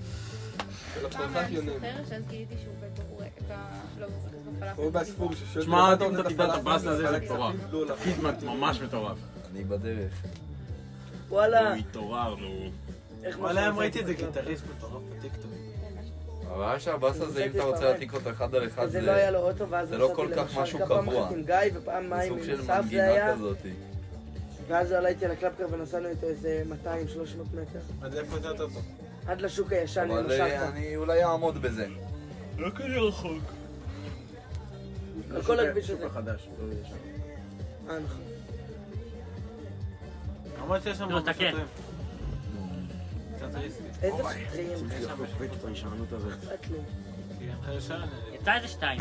H: לא
F: אה,
G: פעם היה לי סוחר, שאז גיליתי שהוא עובד בבורקס, לא בבורקס, בפלאפל.
H: הוא באספור ששואל...
E: שמע, אם אתה תגדל את הבאסה הזה, זה מטורף. תפקיד ממש מטורף.
A: אני בדרך.
C: וואלה.
E: הוא התעורר, נו.
C: איך
H: וואלה, היום
C: משה
H: ראיתי את זה
C: עושה את
H: גיטריסט מטורף בטיקטוק.
A: הבעיה שהבאס הזה, אם אתה רוצה להעתיק אותו אחד על אחד,
C: אז זה לא היה לו אוטו, ואז
A: זה לא
C: נסעתי
A: כל כך
C: למשרקה,
A: משהו
C: פעם
A: קבוע.
C: אחת עם גיא ופעם מים
A: סוג
C: עם
A: של
C: אסף זה
A: מנגינה
C: היה,
A: כזאת.
C: ואז הוא עלה איתי על הקלאבקר ונסענו איתו איזה 200-300 מטר.
H: אז איפה זה אותו?
C: עד לשוק הישן,
A: אבל אה,
C: למשרקה.
A: אני אולי אעמוד בזה.
I: לא כזה רחוק.
C: על כל הכביש הזה.
E: שוק החדש, לא יהיה שם.
C: אה, נכון.
H: למרות שיש שם
F: לא,
H: הרבה
F: תקן.
H: שוטרים. גיטריסטים.
C: איזה שוטרים,
E: שופט את ההישענות הזאת.
C: אכפת לי.
H: כי הם חייבים
E: אה?
H: לשלם.
F: יצא איזה שתיים.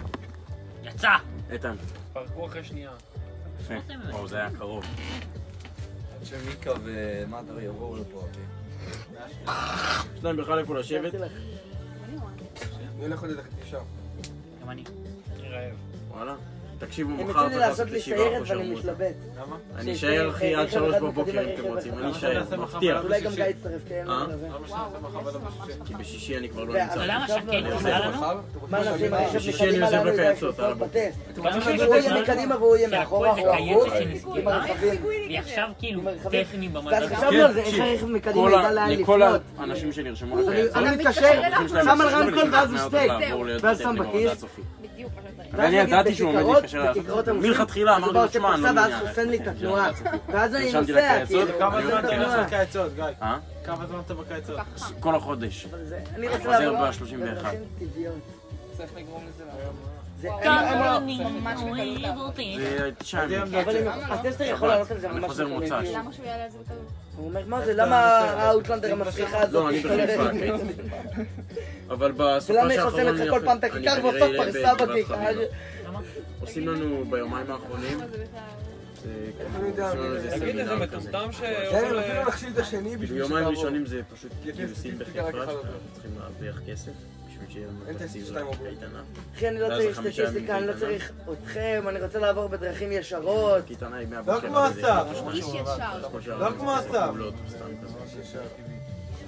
F: יצא!
E: איתן,
I: פרקו אחרי שנייה.
E: יפה.
F: מה זה באמת?
E: וואו, זה היה קרוב.
A: עד שמיקה ומטר יבואו לפה, אחי.
E: יש להם בכלל איפה לשבת?
C: אמרתי לך,
H: אני הולך ללכת לשם.
F: גם אני.
I: אני רעב.
E: וואלה. תקשיבו,
C: הם
E: מחר
C: הציעו לי
E: צריך
C: לעשות
E: לעשות
C: לי
E: ישיבה
C: סיירת
E: פה
C: ואני
E: שבוע.
C: מתלבט.
H: למה?
E: אני אשאר אחי עד
C: שיהיה-
E: שלוש
C: אחד
E: בבוקר
C: אחד
E: אם אתם רוצים,
C: אחד
E: אני
C: אחד.
E: אשאר,
H: אחד.
E: מבטיח.
C: אולי גם גיא יצטרף, כן,
E: אה?
C: אני מקווה.
G: וואו, יש לו ממש
E: כי
G: חכם.
E: בשישי אני כבר לא
C: ואז-
F: אתה
E: נמצא.
F: יודע מה שקד עושה לנו?
C: מה נעשה, מה
E: שישי
C: נשב
E: אני
C: מקדימה
E: עוזב
C: לנו,
E: לך
C: אולי
E: יצאות,
C: נשב
E: יאללה,
C: בטסט.
F: אתה יודע מה
C: הוא
F: שקד
C: יהיה
F: עושה לנו?
C: מקדימה והוא יהיה
F: כי הכל
C: מאחורה,
F: זה
C: הוא עבוד,
F: קייצת שנסגרה.
C: עם הרכבים.
F: והיא עכשיו כאילו
C: עם הרכבים.
F: טכני
C: ואז
F: במדרגה.
C: חשבנו על זה, איך הרכב מקדימה ידע לאן
E: כל
C: לפנות.
E: האנשים שנרשמו
C: אני-
E: אחרי
C: אני
G: מתקשר
C: מתקשר,
G: אליו.
C: שם על רמקול ואז הוא שטייק. ואז שם בכיס.
G: בדיוק מה שצריך.
E: ואני
C: ואז
E: ידעתי
C: נגיד
E: שהוא עומד
C: בכיכרות,
E: להתקשר אליו.
C: בכיכרות המוסלמים,
E: מלכתחילה אמרתי
C: הוא
E: לו,
C: עושה
E: שמע, אני לא
C: פרסה ואז
E: מעוניין.
C: חוסם לי את
E: <laughs>
C: התנועה. ואז אני
E: נרשמתי
C: נוסע,
E: לקייצות,
C: כאילו,
H: כמה
E: אני
H: זמן אתה
E: אומר,
H: לא עושה קייצות, גיא?
E: אה?
H: כמה זמן אתה בקייצות?
G: חכם.
E: כל החודש.
C: אבל זה- אני רוצה
E: חוזר
C: לעבור
E: ב-31.
C: בדרכים טבעיות.
J: צריך לגרום לזה לא? לעבוד.
C: זה-
G: וואו,
C: הם- הם-
F: כמה אני
G: ממש
F: אוהב
G: בקלות.
F: אותי.
E: זה תשעה ימים.
C: אבל אם-
G: למה לא?
C: הטסטר יכול
E: שבת.
C: לעלות על זה
E: אני
C: ממש
E: חוזר
C: בקלות.
E: מוצ"ש.
G: למה שהוא יעלה על זה בקלות?
C: הוא אומר, מה זה, למה האוטלנדר המפריחה הזאת?
E: לא, אני
C: <laughs>
E: בחיפה, כן. אבל בסופה
C: ולמה היא
E: שהאחרון
C: חוסמת
E: אני
C: לך כל
E: יכול-
C: פעם את
E: אני
C: הכיכר
E: כנראה
C: ועושה
E: אראה
C: פרסה
E: בגבעת
C: בכיכר?
E: חביבה. עושים לנו ביומיים האחרונים,
G: למה זה בכלל?
E: זה עושים לנו איזה
I: תגיד איזה
E: סמינר כזה.
I: מטומטם
H: כן,
I: אה, שעושה...
H: יאללה, אפילו
I: ל-
H: נכשיל את השני
E: כאילו,
H: בשביל
E: יומיים
H: שתעבור.
E: ראשונים זה פשוט כאילו גיוסים
H: גיוס
E: בחיפה,
H: רק אחד
E: שאנחנו
H: יותר.
E: צריכים להרוויח כסף בשביל שיהיה
H: אין
E: לנו
H: טסט
E: תקציב
H: שתיים עברו.
E: לקייטנה.
C: אחי, אני לא
E: ואז
C: צריך
E: החמישה ימים כאילו.
C: סטטיסטיקה, אני לא
E: קייטנה.
C: צריך אתכם, אני רוצה לעבור בדרכים ישרות.
E: הקייטנה היא
H: לא
E: מהבוקר.
H: כמו
E: עד איזה
H: אסף.
G: הוא איש ישר.
E: כמו שאר
H: לא
E: הארץ,
H: כמו אסף.
E: פעולות, סתם כזה.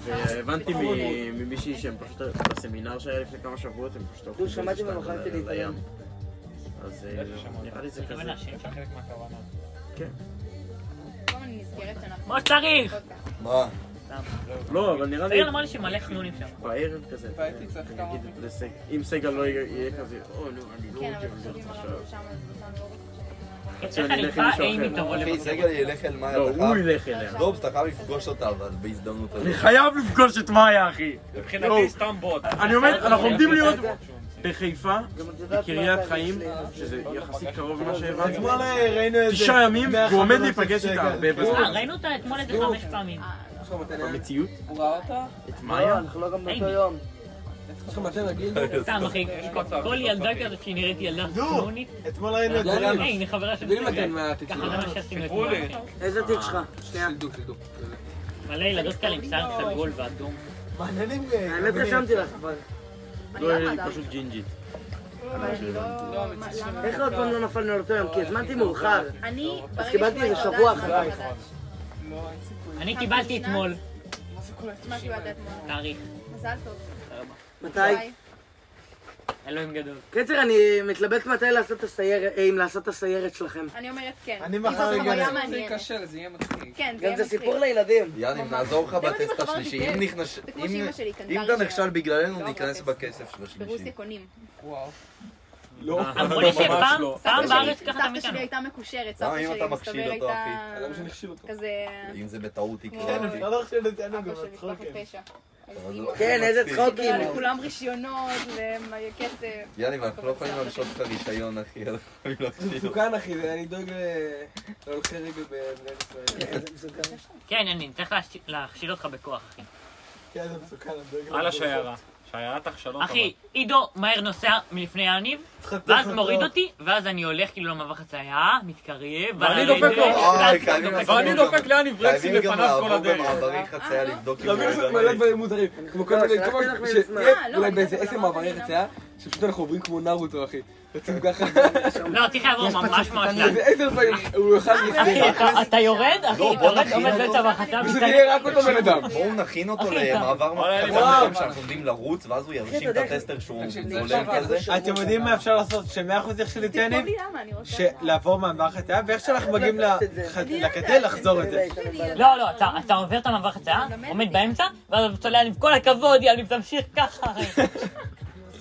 E: והבנתי מ- ממישהי שהם פשוט, בסמינר שהיה לפני כמה שבועות, הם פשוט הלכו
C: דוד, שמעתי
E: באיזה
C: ומכרתי
E: שטנד
C: להתעלם.
E: לים. אז אה, נראה לי זה
F: אתה
E: כזה.
F: מבין להשם?
I: חלק מהכוונה.
G: כל הזמן אני נזכרת שאנחנו...
F: מה שצריך!
A: מה?
E: לא, אבל נראה לי
F: סגל אמר לי שמלא חנונים שם.
E: בערב כזה. אתה
J: והייתי צריך
E: יודע,
J: כמה
E: נגיד לסגל- אם סגל לא יהיה כזה, או נו, אני לא
G: כן, אבל
E: רוצה
G: פשוט
E: ללכת
G: אם
E: עכשיו.
G: אנחנו שם, אז אותנו לא רוצים
F: איך
E: שאני
F: אני
E: אלך
F: איתך,
E: עם מישהו
F: אימי
E: אחר.
F: תבוא
A: אחי,
F: לבוא.
A: סגל ילך אל מאיה,
E: לא,
A: אתה
E: הוא
A: חייב-
E: ילך אליה.
A: דובס, אתה חייב לפגוש אותה, אבל בהזדמנות הזאת.
E: אני חייב לפגוש את מאיה, אחי.
I: מבחינתי סתם בוט.
E: אני אומר, אנחנו עומדים להיות בחיפה,
C: גם את יודעת מה
E: בקריית
C: התאריך
E: חיים,
C: שלי, אז-
E: שזה יחסית קרוב למה שהבנתי.
H: אה, ראינו את זה.
E: תשעה ימים,
H: מהחברים
E: הוא עומד
H: של
E: להיפגש
H: סגל.
E: איתה הרבה
F: אה,
E: בזמן.
F: ראינו אותה אתמול איזה חמש פעמים.
H: יש לך מתנה?
E: במציאות,
J: הוא ראה אותה?
E: את
C: לא,
E: מאיה,
C: אנחנו לא גם באותו
F: אימי.
C: יום.
H: יש לך מתנה, גיל?
F: סתם אחי, כל-
I: מצב,
F: כל
I: יש
F: ילדה
I: מצב.
F: כזאת שהיא נראית ילדה
H: נו.
F: חנונית.
H: אתמול ראינו
B: לא
H: את
F: אה,
H: זה.
F: הנה חברה של
H: בלי מתן
F: סגל.
H: מהתקשורת.
F: ככה זה מה שעשינו
I: סיפרו
F: אתמול.
I: לי.
F: אחי.
C: איזה תיק שלך? שנייה.
H: שלדו, שלדו.
F: מלא ילדות כאלה עם שיער סגול ואדום.
H: מעניינים. אה,
E: אה,
C: האמת
E: אוקיי.
C: רשמתי לך כבר.
E: לא היא פשוט ג'ינג'ית.
G: לא-
C: איך עוד פעם לא נפלנו על אותו יום? כי הזמנתי מאוחר.
G: אני, ברגע
C: קיבלתי
G: שהוא
C: איזה
G: ידע,
C: שבוע
G: זמן
C: אחריי.
G: חדש.
J: לא, אין סיכוי.
F: אני קיבלתי אתמול
G: מה קיבלת אתמול?
F: תאריך.
G: מזל טוב.
C: מתי?
G: ביי.
F: אלוהים גדול.
C: קיצר, אני מתלבט מתי לעשות את הסיירת, אה, אם לעשות את הסיירת שלכם.
G: אני אומרת כן.
H: אני מחר
G: כי זאת
H: אגלה.
G: חוויה
J: זה
G: מעניינת.
J: ייכשל, זה יהיה מצחיק.
G: כן,
C: גם
G: זה יהיה
C: זה
G: מצחיק.
C: סיפור לילדים.
A: יאללה,
G: ממש.
A: נעזור לך
G: אתם יודעים
A: בטסט
G: איך עברתי
A: השלישי. אם
G: טסט?
A: נכנס...
G: זה כמו
A: אם-
G: שאמא שלי קנתה
A: אם
G: לי
A: אתה
G: שם.
A: נכשל בגללנו,
G: לא
A: ניכנס
G: עברתי
A: בכסף של השלישי.
G: ברוסיה קונים.
J: וואו.
H: לא.
F: אמרו לי שפעם, פעם
G: סבתא שלי-
F: בארץ ככה
G: סבתא
F: תמיד
G: שלי
F: כאן.
G: הייתה מקושרת,
A: למה
G: סבתא
A: אם
G: שלי
A: אתה
G: מסתבר
A: מכשיל אותו,
G: הייתה
H: אה, למה שנכשיל אותו?
G: כזה
A: אם זה בטעות יקרה.
G: כן,
A: אחי.
G: אפשר
H: לא חושב לציין
G: אבא של משפחת
E: כן.
G: פשע. אז
A: אבל
G: אימא
A: לא-
C: כן,
A: לא
C: איזה
A: מצחיק.
C: צחוקים.
G: קיבלה לכולם רישיונות וכסף.
A: יאללה, אבל אנחנו לא יכולים להרשות לך רישיון, אחי. אנחנו יכולים
H: זה
A: להכשיל אותו.
H: מסוכן אחי, אני דואג ל- להולכי רגל במדינת ישראל. אה,
C: כן, זה מסוכן.
F: כן, אני צריך להש- להכשיל אותך בכוח, אחי.
H: כן, זה מסוכן, אני דואג
I: על
H: להולכי רגל.
I: השיירה. שיירה תחשלות.
F: אחי, עידו מהר נוסע מלפני יניב, ואז מוריד אותתי, ואז אני הולך כאילו למעבר חצייה, מתקרב,
I: ואני
F: ועל
I: דופק
F: הרגל,
I: לו.
A: אוי,
F: ואז
A: חייבים
F: דופק
A: לעשות
F: לו.
I: ואני דופק לאן ברקסים
A: חייבים גם
I: לפניו כל
A: לעבור
I: הדרך.
A: במעברי חצייה לבדוק אם הוא
H: תמיד לעשות מלא
A: עדיין.
H: דברים מוזרים, כמו כל
C: לא,
H: מיני,
C: שלחתי
H: כמו
C: לך
H: ש-
C: מזמן.
H: יהיה
G: אה, לא,
H: אולי
G: אני
H: באיזה
G: יודעת,
H: עשר
G: אבל
H: מעברי
G: אמרתי
H: חצייה, שפשוט אנחנו עוברים כמו נרוטו אחי, יוצאים ככה,
F: לא, צריך לעבור ממש ממש לאט.
H: איזה עשר פעמים, הוא
G: אה,
H: יוכל
F: אחי,
H: להסתכל,
F: אתה- אתה יורד, אחי,
A: לא,
F: אתה
A: בוא
F: יורד,
A: נכין
F: עומד באמצע
A: אותו.
G: אה,
F: המחצה,
H: וזה
F: מסתכל.
H: יהיה רק אותו בן אדם.
A: בואו נכין אותו
F: אחי, אתה-
A: למעבר
I: וואו.
A: מחצה מסוים שאנחנו עומדים לרוץ, ואז הוא ירשים את
C: אתה יודע-
A: הטסטר שהוא
J: תקשיב, זה
A: זולל
J: עכשיו
A: כזה.
K: אתם יודעים מה אפשר לעשות? שמאה אחוז יחשב
G: תכתוב
K: לציונים?
G: לי למה, אני רוצה.
K: לעבור מהמעבר חצייה,
H: אה?
K: ואיך שאנחנו מגיעים
E: לא,
K: לח- לקצה, לחזור את זה.
F: לא,
G: Oh
F: לא, אתה- אתה עובר את המעבר חצייה, עומד באמצע, ואז אתה צולע עם כל הכבוד, יאללה, תמשיך ככה.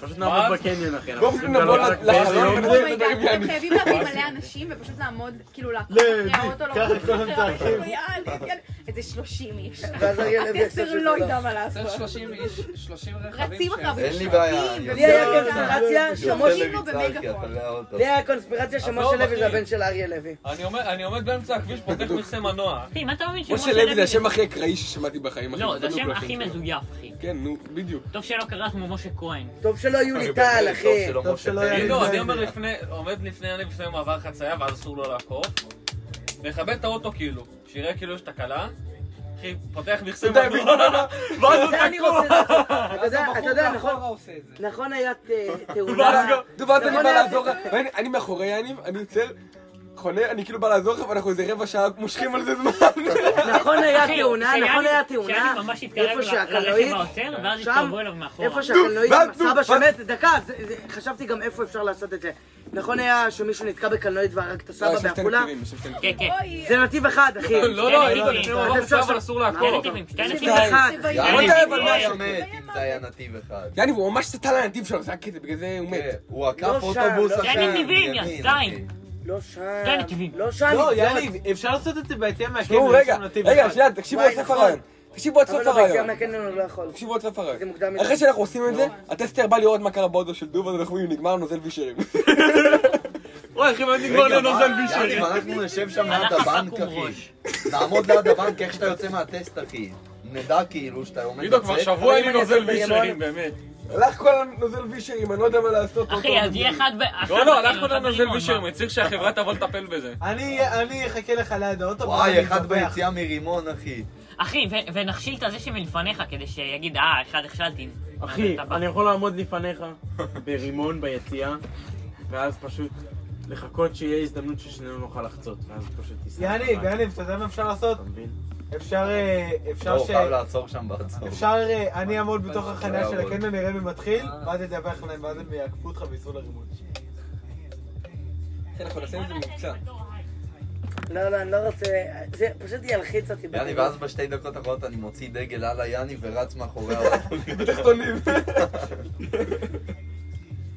E: פשוט נעמוד בקניון אחי. אנחנו
H: בואו
E: צריכים
H: נבוא
E: לעלות
H: ל-
E: רק
H: לחלון
E: באיזה
G: Oh
E: יום.
G: my God, אתם חייבים להביא מלא אנשים ופשוט לעמוד, כאילו לעקוב אחרי האוטו, לעקוב אחרי האוטו, כאילו, יאללה, יאללה. איזה 30 איש.
C: ואז הרגל הזה יעשה
G: הטסטר
C: שזה
G: לא
C: לא.
G: ידע מה
J: צריך
G: לעשות.
J: 30 איש, 30 רכבים.
G: רצים אחריו,
A: אין לי בעיה.
G: שרתים,
C: לי היה
A: יוצא
C: קונספירציה שמשה
G: שמושיב לו
A: למצער, כי
G: במגפון.
A: אתה לא אותו.
C: לי היה קונספירציה שמשה
I: עזוב,
C: לוי זה
I: אחי.
C: הבן של אריה לוי.
I: אני אומר- אני עומד באמצע הכביש, פותח מכסה מנוע.
F: אחי, מה אתה מבין שמשה
H: משה לוי זה השם
F: לוי...
H: הכי אקראי ששמעתי בחיים, אחי,
F: לא, זה
H: בטוח
F: השם
H: לא
F: הכי
H: שלו.
F: מזויף, אחי.
H: כן, נו, בדיוק.
F: טוב שלא קרא כמו משה כהן.
C: טוב שלא יהיו לי טל,
A: טוב
C: אחי.
A: שלא
K: טוב
A: משה
K: שלא
A: פרץ.
K: היה לי
I: לא,
K: זה-
I: אני אומר לפני, עומד לפני אני לפני מעבר חצייה ואז אסור לו לעקוף. לכבד את האוטו כאילו, שיראה כאילו יש תקלה. אחי, פותח מכסה מנוע. ואז הוא
C: זה אני רוצה לעשות. אתה יודע, אתה יודע, נכון-
J: מאחורה עושה את זה.
C: נכון היה ת-
H: ואז
C: תאונה.
H: גם- נו, ואז אני
C: נכון
H: בא
C: היה-
H: לעזור לך, ואני- אני מאחורי יניב, אני יוצר, חונה, אני כאילו בא לעזור לך, ואנחנו איזה רבע שעה מושכים על זה
C: <laughs>
H: זמן.
C: נכון היה
F: אחי,
C: תאונה,
F: שיאני-
C: נכון היה תאונה.
F: שיאני ממש התקרב
C: איפה
F: ל-
C: שהקלנועית,
F: לרכב העוצר, ואז
C: שם,
F: התקרבו אליו
I: נכון.
F: מאחורה.
C: איפה שהקלנועית,
H: ואז-
C: סבא
H: ואז-
C: שמת, דקה, זה- זה- חשבתי גם איפה אפשר לעשות את זה. נכון היה שמישהו נתקע בקלנועית והרג את
H: לא,
C: הסבא בעפולה?
F: כן, כן.
G: אוי,
C: זה נתיב אחד, אחי.
I: לא, לא,
F: שתי
I: אין
F: נתיבים.
I: לפני מעבר חצייה אבל אסור
F: שתי
I: לעקוף.
F: נתיבים, שתי
C: נתיב
F: נתיבים.
G: לא
C: אחד.
A: יאללה,
G: תבייש.
H: אבל אתה- אבל
A: הוא
H: מה
A: היה
H: יש?
A: מת אם זה היה נתיב אחד.
H: יניב, הוא ממש סטה לנתיב שלו, זה הקטע, בגלל זה הוא מת.
A: כן, הוא עקף
C: שם,
A: אוטובוס
C: לא
A: אחר.
F: שם. אין נתיבים, יא
A: ימין,
F: זין.
A: אחי.
C: לא שם.
F: שתי נתיבים.
C: לא שם.
K: לא,
C: לגזול.
K: יניב, אפשר לעשות את זה בהתאם מהקניון.
C: כן,
H: תשמעו, רגע,
K: יש לנו נתיב
H: רגע,
K: אחד.
H: שנייה, תקשיבו עד
C: וואי,
H: סוף
C: נכון.
H: הרעיון. תקשיבו עד
C: אבל
H: סוף
C: לא, ביציאה
H: הרעיון.
C: מהקניון אני לא יכול.
H: תקשיבו עד סוף
C: זה
H: הרעיון.
C: מוקדם מדי. לא.
H: אחרי שאנחנו עושים את זה, הטסטר בא לראות מה קרה באוטו של דוב, אז אנחנו אומרים, נגמר נוזל
C: <laughs>
H: וישרים.
I: אוי אחי, ואני נגמר לנוזל בישל.
A: יאללה, אנחנו נשב שם ליד
F: אנחנו
A: הבנק,
F: חכום
A: אחי.
F: ראש.
A: נעמוד ליד הבנק איך שאתה יוצא מהטסט, אחי. נדע כאילו שאתה עומד
I: עידו, כבר
A: לצאת.
I: שבוע אין לי
C: אבל אם
I: נוזל
C: אני אעשה
I: בישרים, באמת.
H: הלך כל הנוזל וישרים, אני לא יודע מה לעשות.
F: אחי, אז יהיה אחד ב... אחד
I: לא, לא,
F: בקניון,
I: הלכנו
F: אחד
I: לנוזל
F: ברימון, מה?
I: בישרים, צריך שהחברה תבוא לטפל בזה.
K: אני אני אחכה לך ליד האוטו.
A: וואי,
K: ואני
A: אחד
K: אדווח.
A: ביציאה מרימון, אחי.
F: אחי, ו- ונכשיל את הזה שמלפניך כדי שיגיד, אה, אחד הכשלתי.
E: אחי,
F: אתה בא.
E: אני יכול לעמוד לפניך ברימון ביציאה, ואז פשוט לחכות שיהיה הזדמנות ששנינו נוכל לחצות, ואז פשוט תיסע.
K: יניב,
E: אתה
K: יניב, אתה יודע מה אפשר לעשות?
E: מבין?
K: אפשר אה, אפשר
A: לא,
K: ש...
A: הוא חייב לעצור שם בעצור.
K: אפשר, אה, אני אעמוד בתוך החניה של
A: יעבוד.
K: הקניון, נראה מי מתחיל, ואז אדווח להם, ואז הם יעקפו
A: אה,
K: אותך וייסעו לרימון.
H: <laughs> כן, אנחנו נעשה את זה מבצע.
C: לא, לא, אני לא רוצה... זה פשוט ילחיץ אותי.
A: יאני, ואז בשתי דקות האחרונות אני מוציא דגל על היאני ורץ
I: <laughs>
A: מאחורי האוטו.
I: בתחתונים.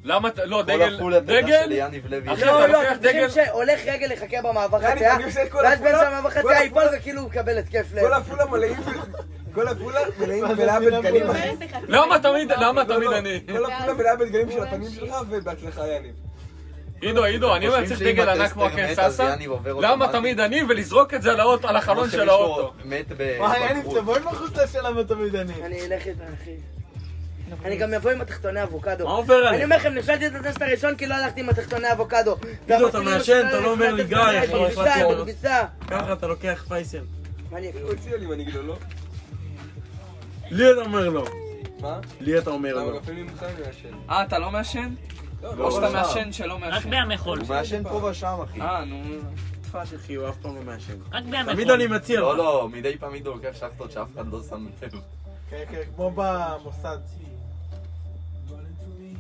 I: למה אתה... לא, דגל...
A: הפול הדדה
I: דגל?
A: של יניב לוי.
I: אחי,
C: לא,
I: אתה
C: לא,
I: לוקח
C: אתם
I: דגל...
C: חושבים שהולך רגל יחכה במעבר
H: יאללה,
C: חצייה,
H: אני עושה את כל
C: ואז
H: הפעולה,
C: באמצע המעבר
H: כל
C: חצייה
H: הפעולה.
C: ייפול וכאילו הוא מקבל התקף לב.
H: כל הפולה מלאים, כל הפולה מלאים מלאה בדגלים.
I: למה תמיד, למה תמיד
H: לא,
I: אני?
H: כל הפולה מלאה בדגלים של הפנים שלך, ובהצלחה יניב.
I: עידו, עידו, אני אומר,
A: חושבים
I: צריך
A: שאם
I: דגל ענק
A: הטסטר
I: כמו הקן
A: מת, אז
I: ססה?
A: יניב עובר
I: למה
A: אוטומטית.
I: תמיד אני ולזרוק את זה על האוטו- על החלון
A: כמו
I: של
A: שמישהו
I: האוטו?
A: מת
I: וואי,
A: בבגרות.
C: תבוא עם החולצה של למה תמיד אני. אני אלך איתך, אחי. אני גם אבוא עם התחתוני אבוקדו.
E: מה עובר עליך?
C: אני אומר לכם, נכשלתי את הטסט הראשון כי לא הלכתי עם התחתוני אבוקדו.
E: תגידו, אתה מעשן, אתה לא אומר לי, גיא,
C: אני
E: אחי,
C: בקביסה,
E: החלטתי-
C: בקביסה.
E: ככה אתה לוקח פייסל.
C: מה אני אקריא?
H: הוציאה לי אם אני אגיד לו לא.
E: לי אתה אומר לא.
H: מה?
E: לי אתה אומר
H: למה
E: לא.
H: לפעמים ממך אני מעשן.
L: אה, אתה לא מעשן?
H: לא,
L: או שאתה
H: לא.
L: מעשן שלא מעשן.
F: רק בימי חול. הוא
A: מעשן פה ושם, אחי.
L: אה, נו.
E: תפאק אחי, הוא אף פעם לא מעשן.
F: רק בימי חול.
E: תמיד אני מציע
A: לא,
E: לך.
A: לא, מדי פעם עידו לוקח שחטות שאף אחד לא שם לב.
E: כן, כן, כמו במוסד.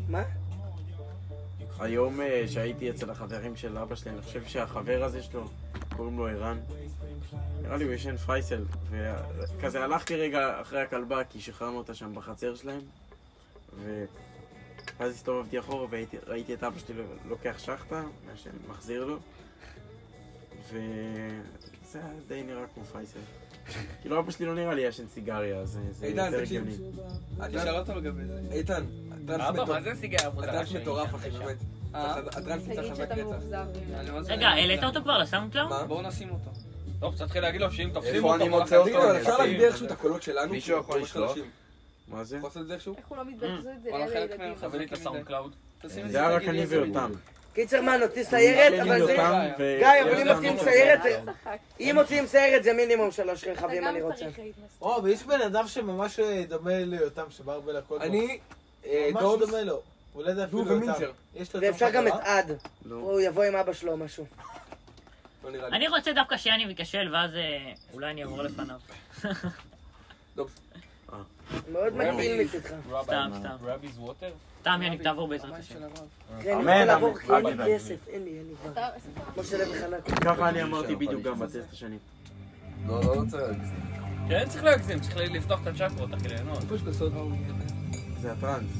C: מה?
E: היום אה, שהייתי אצל החברים של אבא שלי, אני חושב שהחבר הזה שלו, קוראים לו ערן. נראה לי הוא ישן פרייסל. וכזה הלכתי רגע אחרי הכלבה, כי שחררנו אותה שם בחצר שלהם. ואז הסתובבתי אחורה וראיתי את אבא שלי לוקח שחטה, מעשן, מחזיר לו. וזה היה די נראה כמו פייסל. כאילו אבא שלי לא נראה לי ישן סיגריה, אז אה, זה
H: עידן,
E: יותר
H: תקשיב.
E: הגיוני.
L: תשאל אותו לגבי זה.
H: איתן,
L: אבא,
H: הטרנס
L: מה זה סיגריה
H: מטורף.
L: המוזרה
H: הטרנס
L: שלי?
H: מטורף, אחי, באמת.
L: אה?
H: הטרנס
L: תגיד
H: מטורף.
L: שאתה
G: מאוכזב.
F: רגע, העלית אותו כבר לסאונדקלאוד?
L: אה? בואו נשים אותו.
I: טוב, תתחיל להגיד לו שאם תופסים
A: איפה
I: אותו...
A: אני
I: כל
A: מוצא
I: החיים
A: אותו?
I: שלו-
H: אבל אפשר להגביר איכשהו את הקולות שלנו?
A: מישהו יכול
H: ממש
A: לשלוח?
H: חלשים.
E: מה זה?
H: יכול לעשות את זה איכשהו?
G: איך הוא לא מתבזז את זה
L: וואלה,
G: לאלה
L: חלק מהם
G: ילדים?
L: חברים.
I: תביא לי את הסאונד קלאוד.
E: זה היה רק אני ויותם.
C: קיצר, מה, נוציא סיירת?
E: אני
C: אבל זה...
E: יותם ו-
C: גיא, אבל אם
E: יותם.
C: מוציאים סיירת...
G: אל תצחק.
C: אם מוציאים סיירת זה מינימום שלוש רכבים,
G: אתה
C: אני
G: גם
C: רוצה.
G: צריך להתנסות.
B: או, ויש בן אדם שממש אה, דומה ליותם, שבא הרבה לכותל.
H: אני, אה,
B: ממש
H: דורס,
B: דומה לו. הוא לא יודע
H: דוב
B: אפילו יותם.
H: ומינצר.
B: יש לו
C: ואפשר
B: אותם
C: גם את
B: חזרה?
C: עד. הוא יבוא עם אבא שלו או משהו.
H: לא נראה לי.
F: אני רוצה דווקא שיאני ייכשל, ואז אה, אולי אני אעבור לפניו.
C: מאוד מגעיל מצדך.
F: סתם, סתם.
I: רבי's water?
F: סתם, יניב, תעבור בעזרת השם.
C: כן, אני רוצה
E: אמן,
C: לעבור
E: אמן.
C: כי אין
E: אמן,
C: לי
E: אמן.
C: כסף, אין לי, אין לי כבר. משה לוי חנק.
E: ככה אני אמרתי בדיוק גם בטסט השני.
A: לא, לא לא צריך להגזים.
I: כן, צריך להגזים, צריך לפתוח את הצ'קרות, אחי, ליהנות.
E: זה הטראנס.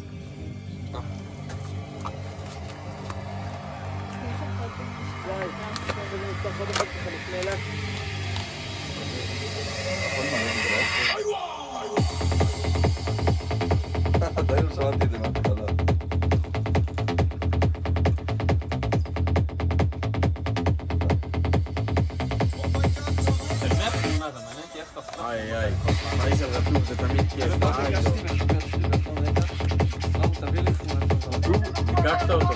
A: עדיין לא שמעתי את זה מההתחלה.
E: איי איי, פייסל רטוב זה תמיד כיף. לא. ניקקת אותו.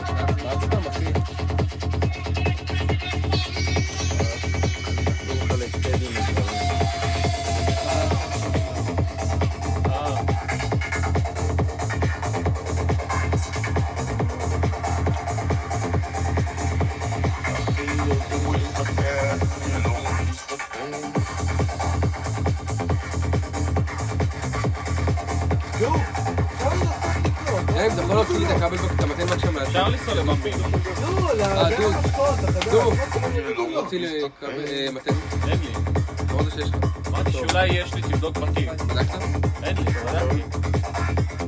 E: לא
H: אה, אתה יכול להוציא לי את הכבל בקטמתן בבקשה מהשם?
I: אפשר לנסוע לבמבינו.
H: אה, דוד, דוד, הוציא לי כבל, אה, מתן.
I: אין לי.
H: מה זה שיש לך?
I: אמרתי שאולי יש לי תבדוק בתים.
H: בדקת?
I: אין לי, לא בדקתי.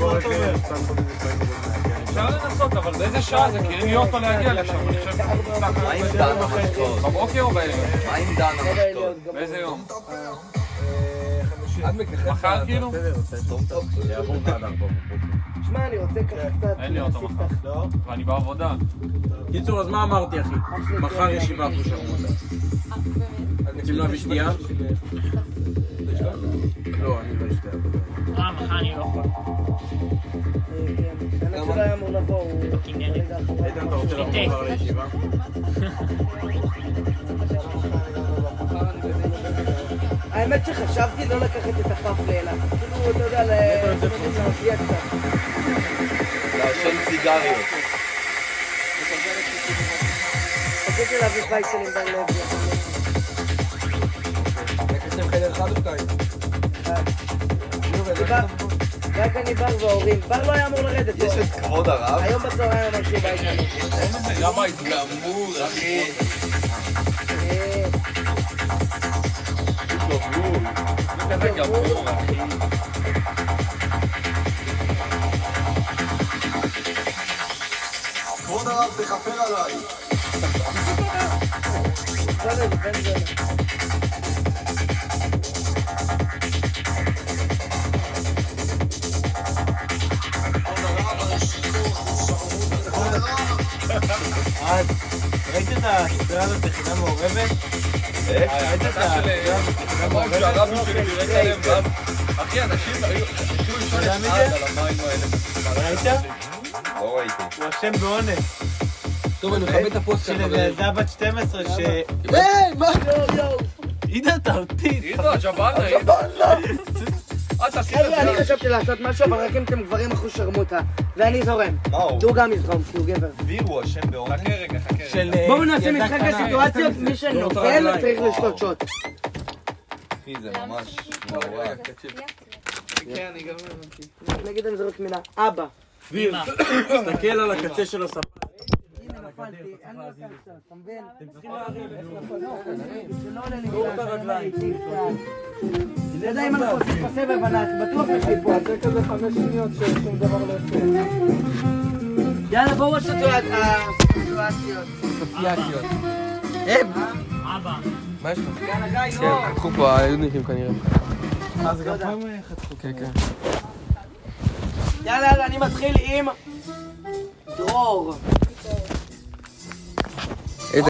C: לא,
I: אפשר לנסות, אבל באיזה שעה זה? כי אין לי אוטו להגיע לשם, אני חושב
A: מה עם דן המחטות?
I: בבוקר או בערב?
A: מה עם דן המחטות?
I: באיזה יום?
H: עד מככב.
I: מחר כאילו?
C: שמע, אני רוצה ככה קצת... אה,
I: אין לי אוטו מחר. ואני בעבודה.
E: קיצור, אז מה אמרתי אחי? מחר ישיבה פה שם. רוצים להביא שנייה? לא, אני לא אשתה.
F: אה, מחר אני לא יכול.
C: האמת שלא היה אמור לבוא, הוא... אה, רגע אחורה.
E: איתן, אתה רוצה לבוא מחר לישיבה?
C: האמת שחשבתי לא לקחת את הפאף לאילת. כאילו, אתה יודע, ל... להרגיע קצת.
A: לעשן סיגריות.
C: רציתי להביא פייסל עם בר לב.
H: לקחתם חדר אחד או שתיים?
C: רק אני בר וההורים. בר לא היה אמור לרדת. יש את
A: כבוד הרב.
C: היום בצהריים אמר שהוא בא איתנו.
I: למה התגמור, אחי?
A: כבוד הרב, תכפר עליי.
B: אה, ראית את הסדרה הזאת יחידה מעורבת? אה, ראית את הסדרה הזאת יחידה מעורבת?
I: שהרבי שלי דירק עליהם גם. אחי, אנשים היו... התחילו לישון
B: אתה יודע
I: אחד
B: מי
I: על המים האלה.
B: ראית?
A: לא ראיתי.
B: הוא אשם באונס.
H: טוב, אני מכבד את הפוסט
B: של איזה ילדה בת 12 ש...
C: היי, מה? יואו, יואו.
B: עידו, אתה אותי.
I: עידו, ג'באנה,
C: עידו.
I: אתה
C: חבר'ה, אני חשבתי לעשות משהו, אבל רק אם אתם גברים אחו שרמוטה. ואני זורם. דו גם יזרום, כי הוא גבר.
A: דביר הוא אשם באונס. חכה
I: רגע, חכה
B: של...
C: בואו נעשה משחק הסיטואציות, מי שנופל צריך לשתות שוט.
A: אחי, זה ממש נורא.
M: כן, אני גם הבנתי.
C: נגיד אני זורק מילה, אבא.
E: דביר, תסתכל על הקצה של הספה.
C: לא אני יודע אם אנחנו עושים פה סבב ענת, בטוח יש לי פה. זה כזה חמש שניות ששום דבר לא יאללה, בואו עוד אה, סיטואציות.
H: סטיאציות.
F: אבא.
H: מה יש לך?
C: יאללה, גיא,
H: כן,
C: נו.
H: חתכו פה היודניקים כנראה.
B: אז גם פעם חתכו.
H: כן, כן.
C: יאללה, אני מתחיל עם דרור.